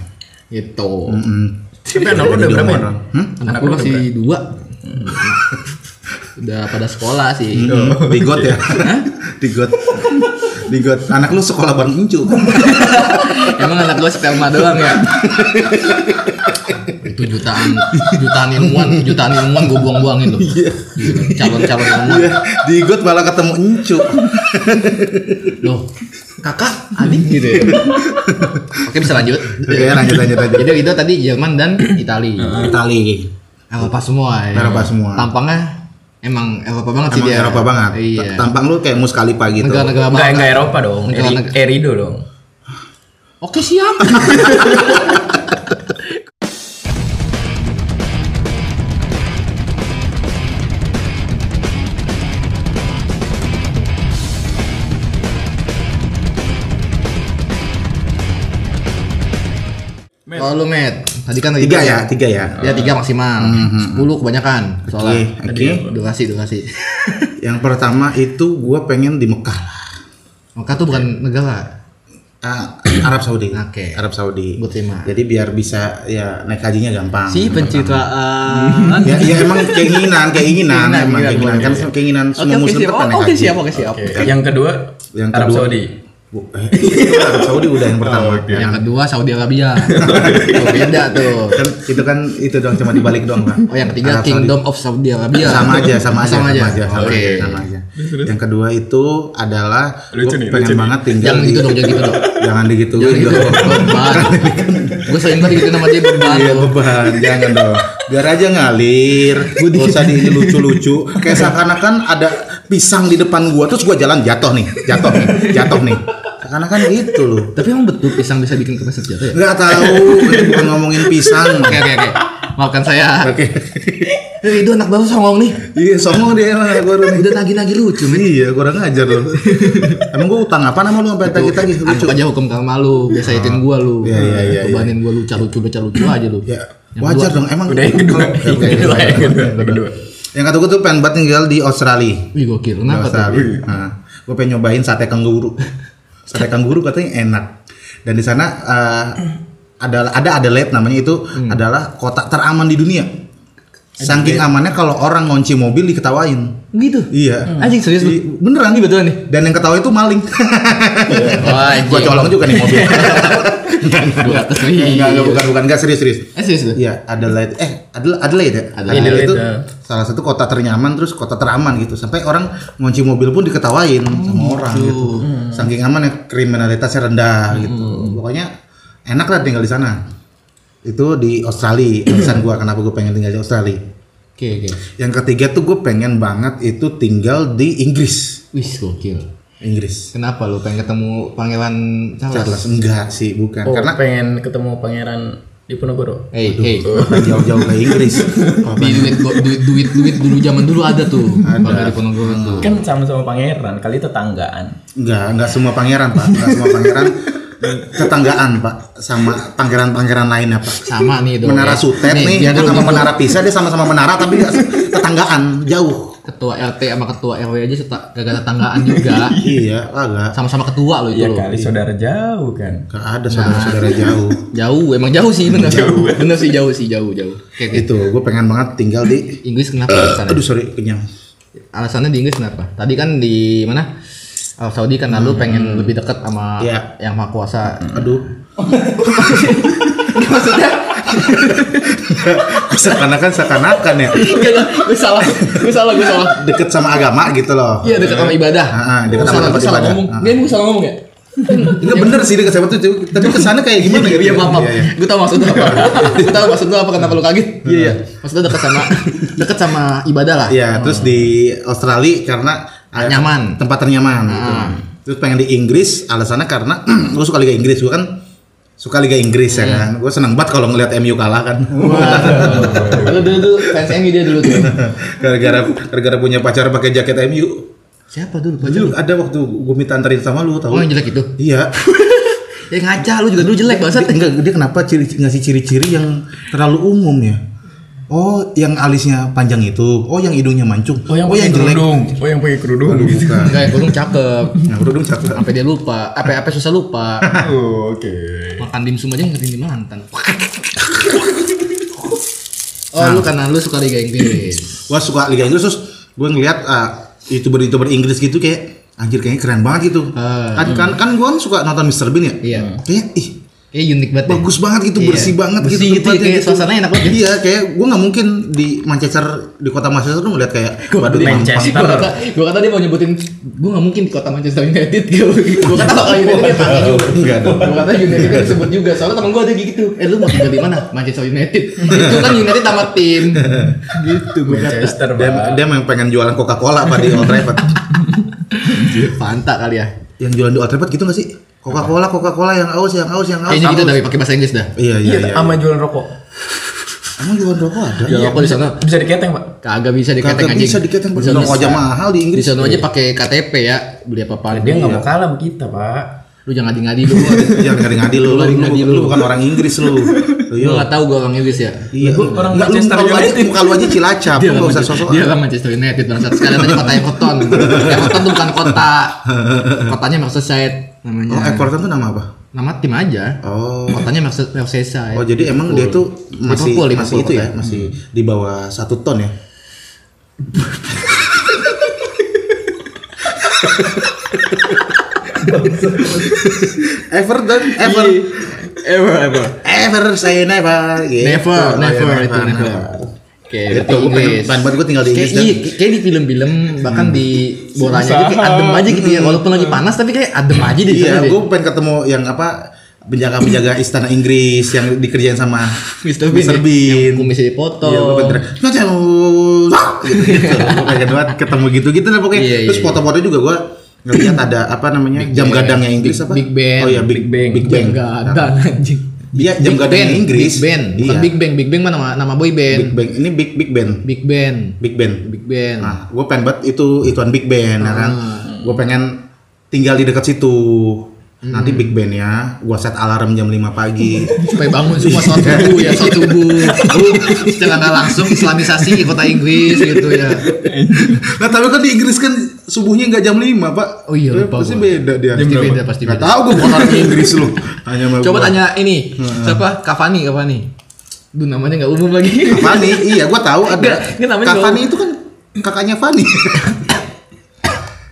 B: Gitu.
A: Mm-mm.
C: Tapi anak lu udah berapa? ya?
A: Hmm?
B: Anak gua masih dua. Udah pada sekolah sih.
C: Oh.
A: Mm-mm. Di got ya. Di got. Di got. Anak lu sekolah bareng Incu.
B: Emang anak gua sperma doang ya. Itu jutaan jutaan ilmuwan, jutaan ilmuwan gua buang-buangin loh. Calon-calon ilmuwan.
A: Iya, Di got malah ketemu Incu.
B: Loh, kakak, adik gitu ya. Oke, bisa lanjut.
A: Oke, lanjut lanjut lanjut.
B: Jadi itu tadi Jerman dan Italia.
A: Itali.
B: Eropa semua ya.
A: Eropa semua.
B: Tampangnya emang Eropa banget sih
A: Emang
B: dia.
A: Eropa banget.
B: Iya.
A: Ta- Tampang lu kayak Muscalipa gitu.
B: Negara-negara
C: Enggak,
B: Balkan.
C: enggak ya. Eropa dong.
B: Negara-
C: Eri-
B: negara-
C: Erido dong.
B: Oke siap. Oh lu Matt, tadi kan
A: Tiga ya, tiga ya.
B: Ya tiga maksimal, sepuluh kebanyakan
A: Oke,
B: soalnya.
A: oke.
B: Durasi durasi.
A: Yang pertama itu gue pengen di Mekah lah.
B: Maka tuh bukan negara.
A: Ah, Arab Saudi.
B: Oke.
A: Arab Saudi.
B: Gua terima.
A: Jadi biar bisa ya naik hajinya gampang.
B: Si pencitraan.
A: Ya, ya emang keinginan, keinginan,
B: Keinginan,
A: emang
B: iya,
A: keinginan kan keinginan
B: Oke
A: semua
B: oke
A: muslim
B: siap.
A: kan naik
B: Oh, Oke
A: haji.
B: siap oke siap.
C: Oke, Yang kedua,
A: Yang
C: Arab
A: kedua-
C: Saudi.
A: Bu- eh, Arab Saudi udah yang pertama.
C: Oh,
B: Yang kedua Saudi Arabia. Oh, beda tuh.
A: Kan itu kan itu doang cuma dibalik doang Pak.
B: Oh yang
A: Arab
B: ketiga
A: Saudi.
B: Kingdom of Saudi Arabia.
A: sama aja sama aja
B: Sama aja.
A: sama
B: Oke.
A: aja, sama aja. yang kedua itu adalah gue
C: Lucu nih,
A: pengen
C: lucu nih.
A: banget tinggal
B: Jangan
A: di-
B: gitu dong, jangan gitu dong.
A: jangan digituin
B: Jangan gitu
A: dong.
B: beban. Gue sering kali gitu nama dia beban.
A: Iya
B: loh.
A: beban, jangan dong. Biar aja ngalir, gak usah di lucu-lucu. Kayak seakan-akan ada pisang di depan gua, terus gua jalan jatuh nih, jatuh nih, jatuh nih. Seakan-akan gitu loh.
B: Tapi emang betul pisang bisa bikin kepleset jatuh ya?
A: Gak tahu, ini bukan ngomongin pisang.
B: Oke oke oke. Maafkan saya.
A: Oke.
B: Eh, itu anak baru songong nih.
A: Iya, sombong dia emang gua nih.
B: Udah nagih-nagih lucu nih.
A: Iya, kurang ajar loh. Emang gua utang apa nama lu sampai gitu? tagih-tagih lucu?
B: Anggap aja hukum karma lu, biasa itin gua lu.
A: Iya, iya, iya,
B: Bebanin gua lu lucu lucu lucu aja lu.
A: Ya, wajar dong. Emang
C: Udah yang kedua.
A: Oke,
C: Yang
A: oke.
C: kedua, yang kedua, yang kedua.
A: Yang kata gua tuh pengen banget tinggal di Australia.
B: Wih gokil. Kenapa tuh?
A: Australia. Nah, gue pengen nyobain sate kanguru. Sate kanguru katanya enak. Dan di sana eh, ada ada Adelaide namanya itu
C: Hmm.
A: adalah kota teraman di dunia. Saking amannya kalau orang ngunci mobil diketawain.
B: Gitu.
A: Iya.
C: Hmm.
B: Anjing serius
A: I-
B: lu.
A: Beneran
B: Ini betulan nih.
A: Dan yang ketawa itu maling.
B: Wah,
A: Gua colong juga nih mobil. Eh,
B: Dua ratus
A: Enggak, enggak, bukan bukan enggak serius serius.
B: Eh serius lu.
A: Iya, Adelaide. Eh, Adelaide, Adelaide ya?
B: Adelaide.
A: itu
C: Adelaide.
A: salah satu kota ternyaman terus kota teraman gitu. Sampai orang ngunci mobil pun diketawain sama orang gitu. Saking aman ya kriminalitasnya rendah gitu. Pokoknya enak lah tinggal di sana. Itu di Australia. Alasan gua kenapa gue pengen tinggal di Australia.
B: Oke oke.
A: Yang ketiga tuh gue pengen banget itu tinggal di Inggris.
B: Wih gokil.
A: Inggris.
B: Kenapa lu pengen ketemu pangeran Charles?
A: Charles enggak sih, bukan.
C: Oh,
A: Karena
C: pengen ketemu pangeran Diponegoro.
B: Hey, hey.
A: jauh-jauh ke Inggris. Kalau
B: Di duit, duit, duit, duit dulu zaman dulu ada tuh. Ada. Di Ponorogo tuh.
C: Kan sama-sama pangeran, kali tetanggaan.
A: Enggak, enggak semua pangeran, Pak. Enggak semua pangeran tetanggaan, Pak, sama pangeran-pangeran lainnya, Pak.
B: Sama nih dong.
A: Menara
B: ya.
A: Sutet nih, dia
B: biar
A: kan
B: dulu
A: sama
B: gua-
A: menara pisah, dia sama-sama menara tapi enggak se- tetanggaan, jauh.
B: Ketua RT sama ketua RW aja suka kagak tetanggaan juga.
A: Iya, kan. agak.
B: Sama-sama ketua lo itu
C: Iya
B: lo.
C: kali saudara jauh kan.
A: Enggak
B: Nah.
A: ada saudara-saudara jauh.
B: Jauh, emang jauh sih bener. Jauh. Bener sih jauh sih, jauh, jauh. Oke, oke.
A: Itu, gue pengen banget tinggal di
B: Inggris kenapa alasannya?
A: Aduh, sorry, kenyang.
B: Alasannya di Inggris kenapa? Tadi kan di mana? Arab Saudi kan lalu pengen lebih dekat sama
A: Hmm. Iya.
B: yang maha kuasa.
A: Aduh.
B: Maksudnya
A: Seakan-akan seakan-akan ya
B: enggak, enggak, gue salah, gue salah, gue salah.
A: deket sama agama gitu loh.
B: Iya dekat sama ibadah.
A: Ah, ah, dekat
B: Gue
A: sama
B: salah,
A: tempat
B: gue salah
A: ibadah.
B: ngomong.
A: Ah.
B: Dia emang gue salah ngomong ya?
A: Enggak bener sih deket sama itu, tapi kesannya kayak gimana gitu.
B: Iya, paham, paham.
A: Iya, iya.
B: Gue tau maksudnya apa. gue tau maksudnya apa kenapa lu kaget. Iya, iya. Maksudnya dekat sama dekat sama ibadah lah.
A: Iya, terus di Australia karena ada
B: Nyaman.
A: tempat ternyaman gitu. Terus pengen di Inggris, alasannya karena gue suka Liga Inggris, gue kan suka Liga Inggris ya kan. Gue seneng banget kalau ngelihat MU kalah kan.
B: Waduh. Lu dulu dulu fans MU dia dulu tuh.
A: gara-gara gara-gara punya pacar pakai jaket MU.
B: Siapa dulu? Baju
A: Dulu ada waktu gue minta anterin sama lu
B: Oh
A: tahu?
B: yang jelek itu.
A: Iya.
B: Ya ngaca lu juga dulu jelek banget.
A: Enggak, dia kenapa ciri ngasih ciri-ciri yang terlalu umum ya? Oh, yang alisnya panjang itu. Oh, yang hidungnya mancung.
C: pakai kerudung. Oh yang pakai kerudung
A: Aduh,
C: gitu.
A: bukan.
B: Enggak, burung cakep.
A: Nah, kerudung cakep.
B: Sampai dia lupa, apa apa susah lupa.
C: Oh, Oke.
B: Makan dimsum aja ngerti di mantan. Oh,
A: Nah.
B: lu karena lu suka Liga Inggris.
A: gue suka Liga Inggris terus gue ngeliat ah, youtuber-youtuber Inggris gitu kayak anjir kayaknya keren banget gitu
B: Ah,
A: kan kan kan gue kan suka nonton Mr Bean ya
B: Iya.
A: kayak ih
B: Iya unik banget. deh.
A: bagus banget gitu
B: Iya.
A: bersih banget
B: Bersih gitu ya,
A: tempatnya
B: kayak suasananya enak banget ya.
A: iya kayak gue nggak mungkin di Manchester di kota Manchester tuh melihat kayak badut
C: di
A: mampang.
C: Manchester.
B: Gua kata, gua kata dia mau nyebutin gua nggak mungkin di kota Manchester United gitu. Gua kata kalau United dia panggil juga.
A: Enggak Iya, dong.
B: Gua kata United kan disebut juga. Soalnya temen gua ada kayak gitu. Eh lu mau tinggal di mana? Manchester United. Itu kan United sama tim. Gitu gua kata.
C: Manchester
A: dia,
C: Pak.
A: dia memang pengen jualan Coca-Cola apa di Old Trafford
B: Fanta kali ya.
A: yang jualan di Old Trafford gitu gak sih Coca-Cola Coca-Cola yang aus yang aus yang aus
B: Kayaknya gitu dari pakai bahasa Inggris dah.
A: iya iya
C: Iya,
A: iya
C: sama jualan rokok.
A: emang jualan rokok ada
B: Jual rokok di sana.
C: Bisa diketeng, Pak.
B: Kagak bisa diketeng
A: Iya. kagak
B: anjing.
A: bisa diketeng
B: Di sana-
A: rokok aja mahal di
B: Di
A: Inggris
B: sana aja pakai KTP ya. Beli apa-apa.
C: Dia nggak mau kalah sama kita, Pak.
B: Lu jangan ngadi-ngadi lu.
A: ya ngadi-ngadi lu lu,
B: Ngadi-ngadi
A: lu,
B: lu.
A: lu bukan orang Inggris lu Lu,
B: Lu
A: yo.
B: nggak tahu gua orang Inggris ya.
A: Iya,
C: Gua orang
A: Nggak, lu
C: Manchester
A: muka lu aja,
C: United.
A: muka lu aja cilacap, lu
B: dia nggak
A: nggak usah ya?
B: Manchester-
A: sosok.
B: dia nggak Manchester United bangsat sekarang tadi kota Everton Everton tuh bukan kota kotanya Merseyside namanya
A: Oh, Everton tuh nama apa?
B: nama tim aja
A: Oh,
B: kotanya Merse- Merseyside
A: Oh jadi emang dia tuh masih masih
B: Liverpool, Liverpool
A: itu ya
B: kotanya.
A: masih di bawah satu ton ya. Everton, ever,
B: ever ever
A: ever saya never, gitu.
B: never
A: Oh, ya,
B: never itu never Oke,
A: Itu
B: berarti
A: bukan-
B: Inggris.
A: bukan buat Iya, gua tinggal di
B: Kayak-
A: Inggris,
B: Iya, kayak di film-film bahkan di bolanya gitu kayak adem aja gitu ya. Walaupun lagi panas tapi kayak adem aja di
A: Iya,
B: sana deh.
A: gue pengen ketemu yang apa penjaga-penjaga istana Inggris yang dikerjain sama
B: Mr. Bean.
A: Mr.
B: ya,
A: Bean.
B: yang kumisnya dipotong.
A: Iya, gue pengen gitu, gitu. Gue pengen banget ketemu gitu-gitu lah pokoknya.
B: Iya, iya,
A: Terus
B: iya.
A: foto-foto juga gue ngeliat ada apa namanya jam gadangnya Inggris apa?
B: Big Ben.
A: Oh iya Big,
C: Big Bang.
A: Big
B: Jam
A: Bang. Nah,
B: gadang anjing.
A: Iya jam
B: Big
A: gadangnya
B: Band,
A: Inggris.
B: Big Band, bukan
A: Iya.
B: Big Bang. Big Bang mah nama nama boy band.
A: Big Bang. Ini Big Big Ben.
B: Big Band,
A: Big Ben.
B: Big Band.
A: Nah, gue pengen banget itu ituan Big Ben, ya kan?
B: Ah.
A: Gue pengen tinggal di dekat situ. Nanti
B: Hmm.
A: Big Ben ya, gue set alarm jam 5 pagi.
B: Supaya bangun semua sholat subuh ya, sholat subuh. Lu secara nggak langsung Islamisasi kota Inggris gitu ya.
A: nah tapi kan di Inggris kan subuhnya nggak jam 5 pak.
B: Oh iya,
A: Eh,
B: lupa
A: Pasti
B: gua.
A: beda dia.
B: Pasti beda, pasti
A: Nggak
B: beda.
A: tahu gue bukan orang Inggris lu. Tanya sama
B: Coba
A: gua. Ah.
B: tanya ini, siapa? Cavani, Cavani. Duh namanya nggak umum lagi.
A: Cavani, iya gue tahu ada.
B: Nggak, ini namanya
A: Cavani
B: nggak-
A: itu kan kakaknya Fani.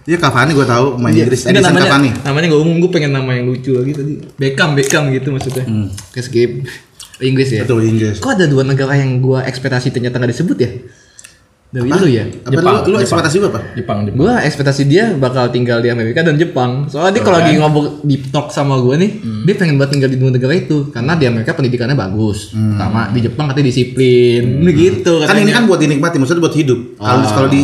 A: Iya Cavani gue tahu main
B: Iya,
A: Inggris.
B: ini
A: Edison
B: namanya,
A: Cavani.
B: namanya nggak umum, gue pengen nama yang lucu lagi tadi. Beckham, Beckham gitu maksudnya. Kayak skip. Inggris ya.
A: Hmm. Betul Inggris.
B: Kok ada dua negara yang gua ekspektasi ternyata nggak disebut ya? Dari
A: Apa?
B: dulu ya.
A: Apa
C: Jepang,
A: lu, lu
C: Jepang.
A: ekspektasi gue apa?
C: Jepang, Jepang.
B: Gua ekspektasi dia bakal tinggal di Amerika dan Jepang. Soalnya dia kalau lagi ngobrol di talk sama gua nih,
A: Hmm.
B: dia pengen buat tinggal di dua negara itu karena di Amerika pendidikannya bagus. Pertama di Jepang katanya disiplin, gitu
A: Hmm. Kan ini kan buat dinikmati, maksudnya buat hidup. Kalau kalau di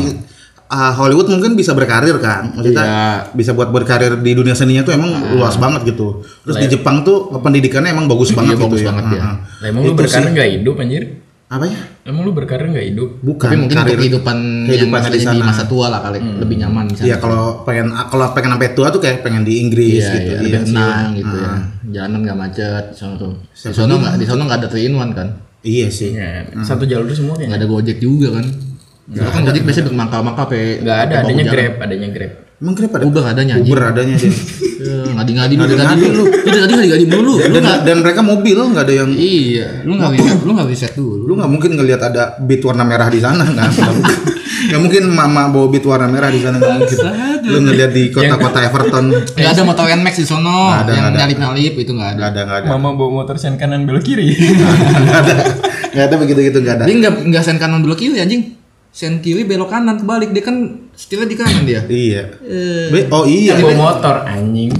A: ah, Hollywood mungkin bisa berkarir kan, maksudnya
B: Iya. Ah.
A: bisa buat berkarir di dunia seninya tuh emang luas banget gitu. Terus di Jepang tuh pendidikannya emang bagus banget gitu
B: ya. bagus
A: ya.
B: banget ya.
A: Ah, ah.
C: Lah, emang lu
A: Itu
C: berkarir nggak hidup anjir?
A: Apa ya?
C: Emang lu berkarir nggak hidup?
A: Bukan
B: tapi mungkin untuk kehidupan, yang
A: kehidupannya di
B: maksudnya di
A: sana.
B: masa tua lah kali lebih nyaman di sana.
A: Iya kalau pengen kalau pengen sampai tua tuh kayak pengen di Inggris
B: Iya,
A: gitu. Hmm.
B: iya,
A: Iya,
B: lebih tenang gitu ya. Jalanan nggak macet di sana tuh. Di sana nggak di sana nggak ada three in one kan?
A: iya sih.
C: Ya, satu jalur semua kayaknya.
B: Nggak ada Gojek juga kan? Soalnya kan Gojek biasanya bermangkal-mangkal pe
C: Nggak ada, adanya Grab, adanya Grab.
A: Emang kenapa ada?
B: Uber adanya anjing.
A: Uber adanya sih.
B: Ya, ngadi-ngadi lu dari tadi
A: Ngadi-ngadi
B: lu. Lu dari tadi ngadi-ngadi mulu. Lu
A: dan,
B: nggak
A: dan mereka mobil nggak ada yang
B: Iya, lu nggak riset, lu nggak riset dulu.
A: lu nggak mungkin ngelihat ada beat warna merah di sana kan nggak mungkin mama bawa beat warna merah di sana nggak mungkin lu ngelihat di kota-kota Everton
B: Nggak ada motor Nmax di sono
A: Nggak ada,
B: yang
A: nggak ada.
B: nyalip-nyalip itu nggak ada.
A: nggak ada nggak ada
C: Mama bawa motor sen kanan belok kiri.
A: nggak ada nggak ada begitu gitu nggak ada
B: Dia nggak nggak sen kanan belok kiri anjing. Sen kiri belok kanan kebalik dia kan setirnya di kanan dia.
A: iya Be- oh iya
C: Bawa motor anjing.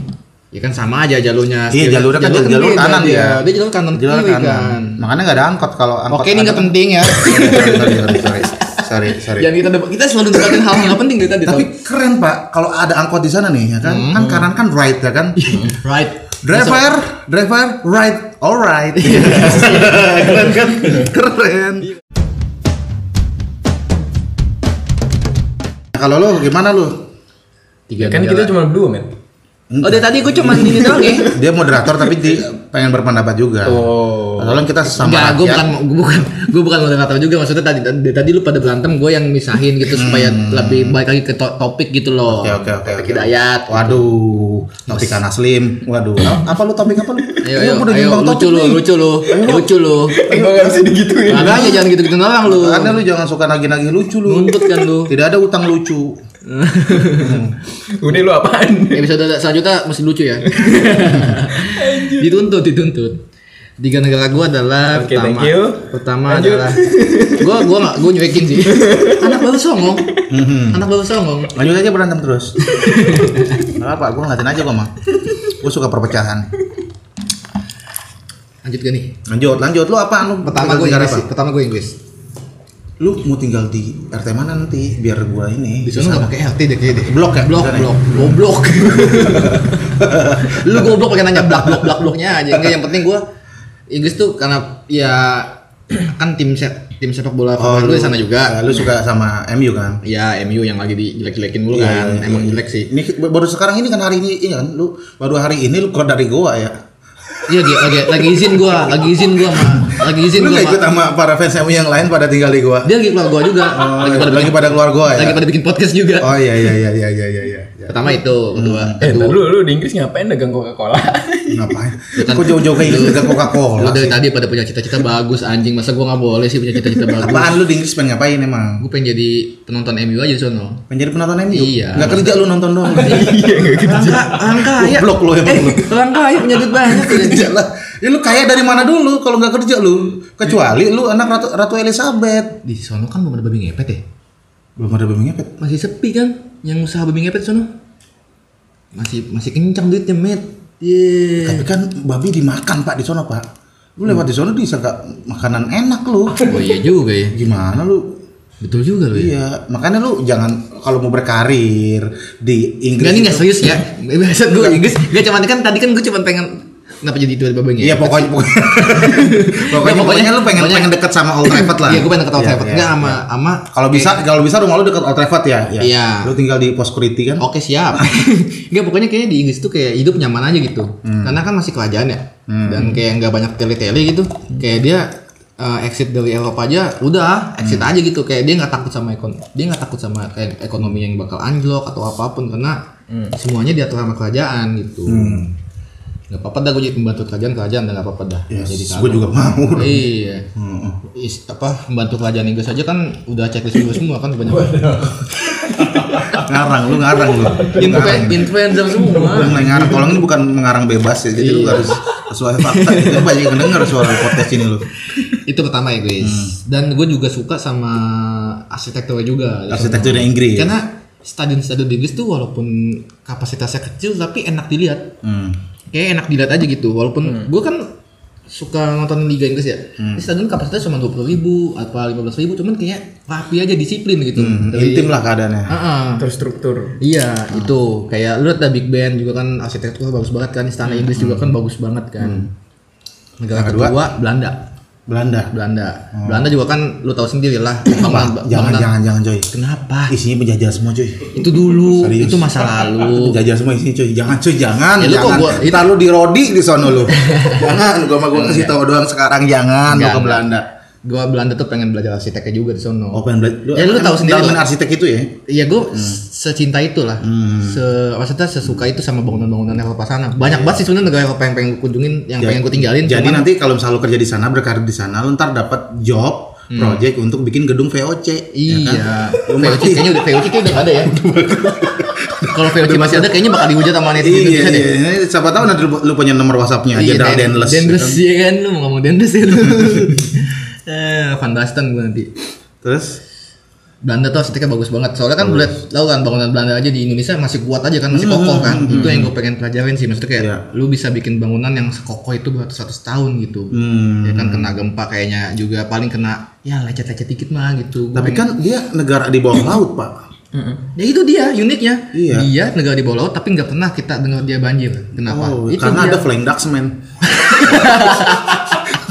B: Ya kan sama aja jalurnya.
A: Iya, jalurnya kan
B: Jalur
A: jalur
B: beda
A: kanan
B: dia.
A: dia.
B: Dia jalur kanan
A: Jalan
B: kiri kan.
A: kanan. makanya nggak ada angkot kalau angkot
B: Oke, ini nggak
A: ada-
B: penting ya.
A: sorry sorry, sorry, sorry sorry sorry
B: Jangan kita debat. Kita selalu debatin hal-hal nggak penting dari tadi.
A: tapi keren pak kalau ada angkot di sana nih ya kan
B: Hmm.
A: kan kanan kan right ya kan
B: tau. right.
A: driver driver right alright
B: Iya,
A: keren kan keren Nah, kalau lo gimana lo
B: Tiga
C: Kan
B: negara.
C: kita cuma berdua, men.
B: Oh, dari tadi gua cuma gini doang ya.
A: dia moderator tapi di, pengen berpendapat juga
C: Oh.
A: tolong kita sama
B: Enggak, gue
A: rakyat
B: bukan, gue bukan, gue bukan moderator juga. Maksudnya tadi, tadi, tadi lu pada berantem, gue yang misahin gitu supaya lebih baik lagi ke to- topik gitu loh.
A: Hmm. oke oke oke
B: Topik
A: oke.
B: hidayat.
A: waduh topik Naslim waduh apa lu topik apa lu
B: Ayo,
A: Lu
B: ayo,
A: Iya, udah
B: ayo,
A: nyumbang
B: lucu
A: topik
B: lu,
A: nih.
B: lucu lu, Eh, lucu lu.
C: Enggak enggak Eh, bisa digituin.
B: Makanya jangan gitu-gitu orang lu.
A: Makanya lu jangan suka nagih-nagih lucu lu.
B: Nuntut kan lu.
A: Tidak ada utang lucu.
C: Udah lu apaan?
B: Episode selanjutnya mesti lucu ya. dituntut dituntut tiga negara gue adalah
C: Oke,
B: pertama
C: thank you.
B: pertama
C: Lanjut.
B: adalah gue gue nggak gue nyuekin sih anak baru songong
A: Mhm.
B: anak baru songong
A: Lanjut aja berantem terus. Gak apa, gue ngeliatin aja kok mah. Gue suka perpecahan.
B: lanjut gak nih
A: Lanjut, lanjut. Lu apa? Lu
B: pertama
A: tinggal
B: gue
A: di negara
B: Inggris
A: apa?
B: sih. pertama gue Inggris
A: Lu mau tinggal di RT mana nanti? Biar gue ini.
B: di sana nggak pakai LT deh kayaknya deh
A: Blok ya?
B: blok
A: Di sana ya?
B: blok goblok lu goblok pakai nanya blak blok blak bloknya aja enggak yang penting gue Inggris tuh karena ya kan tim set tim sepak bola
A: Oh,
B: favorit gue di sana
A: eh,
B: juga
A: Lu suka sama MU kan?
B: ya MU yang lagi dijelek-jelekin mulu
A: Iya,
B: kan
A: iya,
B: emang
A: iya.
B: jelek sih
A: Ini baru sekarang ini kan hari ini, ini kan lu baru hari ini lu keluar dari Goa ya.
B: Iya lagi, lagi, lagi izin gua, lagi izin gua ma, lagi izin
A: Lu
B: gua
A: gak ikut
B: ma.
A: sama para fans MU yang lain pada tinggal di Goa.
B: Dia lagi keluar gua juga,
A: Oh,
B: lagi pada
A: lagi
B: bikin,
A: pada keluar Goa ya.
B: lagi pada bikin podcast juga.
A: Oh iya iya iya iya iya iya. iya.
B: Pertama itu, kedua,
C: Eh,
B: kedua.
C: ntar lu, lu di Inggris ngapain dagang Coca-Cola?
A: Ngapain? Kok jauh-jauh kayak gitu ke
B: Lu
A: Coca-Cola?
B: dari tadi pada punya cita-cita bagus anjing, masa gua nggak boleh sih punya cita-cita bagus.
A: Apaan lu di Inggris pengen ngapain emang?
B: Gua pengen jadi penonton MU aja di sono.
A: Pengen jadi penonton MU?
B: Iya.
A: Nggak kerja lu nonton doang.
C: Iya, enggak
B: Langka, langka ya.
A: gitu, Goblok lu emang lu.
B: Langka ya punya duit banyak.
A: Kerja lah. Ya lu kaya dari mana dulu kalau nggak kerja lu?
B: Iya.
A: Kecuali lu anak Ratu, Ratu Elizabeth.
B: Di sono kan belum ada babi ngepet ya?
A: Belum ada bimbing ngepet.
B: Masih sepi kan? Yang usaha babi ngepet di sono? Masih masih kencang duitnya, met. Yeay.
A: Tapi kan babi dimakan pak di sono pak. Lu lewat di sono disangka makanan enak lu.
B: Oh iya juga ya.
A: Gimana lu?
B: Betul juga lu ya.
A: Iya, makanya lu jangan kalau mau berkarir di Inggris.
B: Enggak nih enggak serius
A: Iya.
B: ya. Biasa gue Inggris. Enggak cuman kan tadi kan gue cuma pengen kenapa jadi itu ada babanya?
A: Iya pokoknya pokoknya, pokoknya, pokoknya
B: Nah,
A: lu pengen
B: pokoknya-
A: pengen deket sama Old Trafford lah.
B: Iya, gue pengen ketawa
A: Iya,
B: saya.
A: iya.
B: Enggak sama sama
A: Kalau bisa kalau bisa rumah lu deket Old Trafford ya.
B: Iya.
A: Lu tinggal di pos security kan?
B: Oke siap. Enggak pokoknya kayaknya di Inggris tuh kayak hidup nyaman aja gitu.
A: Hmm.
B: Karena kan masih kerajaan ya. Dan kayak nggak banyak tele-tele gitu. Kayak dia eh, exit dari Eropa aja udah exit
A: Hmm.
B: aja gitu kayak dia nggak takut sama ekon dia nggak takut sama kayak ekonomi yang bakal anjlok atau apapun karena
A: Hmm.
B: semuanya diatur sama kerajaan gitu. Nggak apa-apa dah gue jadi pembantu kerajaan kerajaan dah nggak apa-apa dah.
A: Yes,
B: jadi
A: gue juga mau.
B: Iya.
A: hmm,
B: Is- apa membantu kerajaan Inggris aja kan udah checklist dulu semua kan banyak.
A: ngarang lu ngarang lu.
B: Influ-
A: Ngarang.
B: Influencer semua.
A: Lu mulai ngarang. Tolong ini bukan mengarang bebas ya. Jadi lu
B: Iya.
A: harus sesuai fakta. Itu banyak yang denger suara podcast ini lu.
B: itu pertama ya
A: Hmm.
B: guys dan gue juga suka sama arsitekturnya juga
A: Arsitekturnya Inggris.
B: karena stadion-stadion di Inggris tuh walaupun kapasitasnya kecil tapi enak dilihat
A: Hmm.
B: kayak enak dilihat aja gitu walaupun gue kan suka nonton Liga Inggris ya
A: Hmm.
B: Ini stadion kapasitas cuma dua puluh ribu apa lima belas ribu cuman kayak rapi aja disiplin gitu Dari-
A: Hmm, Intim Hmm. lah keadaannya.
B: Ah-ah.
C: Terstruktur.
B: Iya, itu kayak lu liat dah Big Ben juga kan arsitektur bagus banget kan, istana Inggris juga kan bagus banget kan. Negara
A: Hmm. Yang kedua?
B: kedua, Belanda.
A: Belanda.
B: Belanda. Belanda juga kan lu tahu sendiri lah.
A: Pak, Oh. jangan jangan jangan coy. Ah,
B: Kenapa?
A: Isinya penjajah semua coy.
B: Itu dulu,
A: Serius.
B: itu masa lalu.
A: Penjajah semua isinya coy. Jangan coy, jangan.
B: Ya, lu kok
A: jangan.
B: gua-
A: Ntar lu di Rodi di sono lu. jangan, gua mah gua kasih tahu doang sekarang jangan lu ke
B: Enggak, enggak.
A: Belanda.
B: Gua Belanda tuh pengen belajar arsiteknya juga di sono.
A: Open Blade.
B: Ya, lu tahu sendiri
A: Dalam
B: lah.
A: arsitek itu ya.
B: Iya gue secinta itulah,
A: Hmm.
B: se maksudnya sesuka itu sama bangunan-bangunan Eropa sana. Banyak banget sih sebenarnya negara Eropa yang pengen gue kunjungin,
A: Iya.
B: yang
A: Ya,
B: pengen gue tinggalin.
A: Jadi
B: cuman-
A: nanti kalau misalnya lu kerja di sana, berkarir di sana, lu ntar dapat job project untuk bikin gedung VOC.
B: Iya.
A: Lu
B: VOC
A: mati.
B: kayaknya udah VOC kayaknya udah nggak ada ya. Kalau VOC masih ada kayaknya bakal dihujat sama netizen
A: Iya,
B: gitu
A: iya, iya. Siapa tahu nanti lu lu punya nomor WhatsAppnya
B: Iya,
A: aja, Dan Denless. Gitu.
B: Dendres ya kan lu mau ngomong Dendres ya lu. Eh, Van Basten gue nanti.
A: Terus
B: Belanda tuh arsiteknya bagus banget. Soalnya kan boleh tahu kan bangunan Belanda aja di Indonesia masih kuat aja kan, masih kokoh kan. Itu yang gue pengen pelajarin sih. Maksudnya kayak
A: Hmm, Iya.
B: lu bisa bikin bangunan yang sekokoh itu beratus-ratus tahun gitu.
A: Hmm.
B: Ya kan kena gempa kayaknya juga paling kena ya lecet-lecet dikit mah gitu. Gua
A: tapi kan
B: pengen-
A: dia negara di bawah laut, Pak.
B: Ya itu dia uniknya.
A: Iya.
B: Dia negara di bawah laut tapi nggak pernah kita dengar dia banjir. Kenapa?
A: Oh,
B: itu
A: karena ada
B: dia.
A: Flying Dutchman.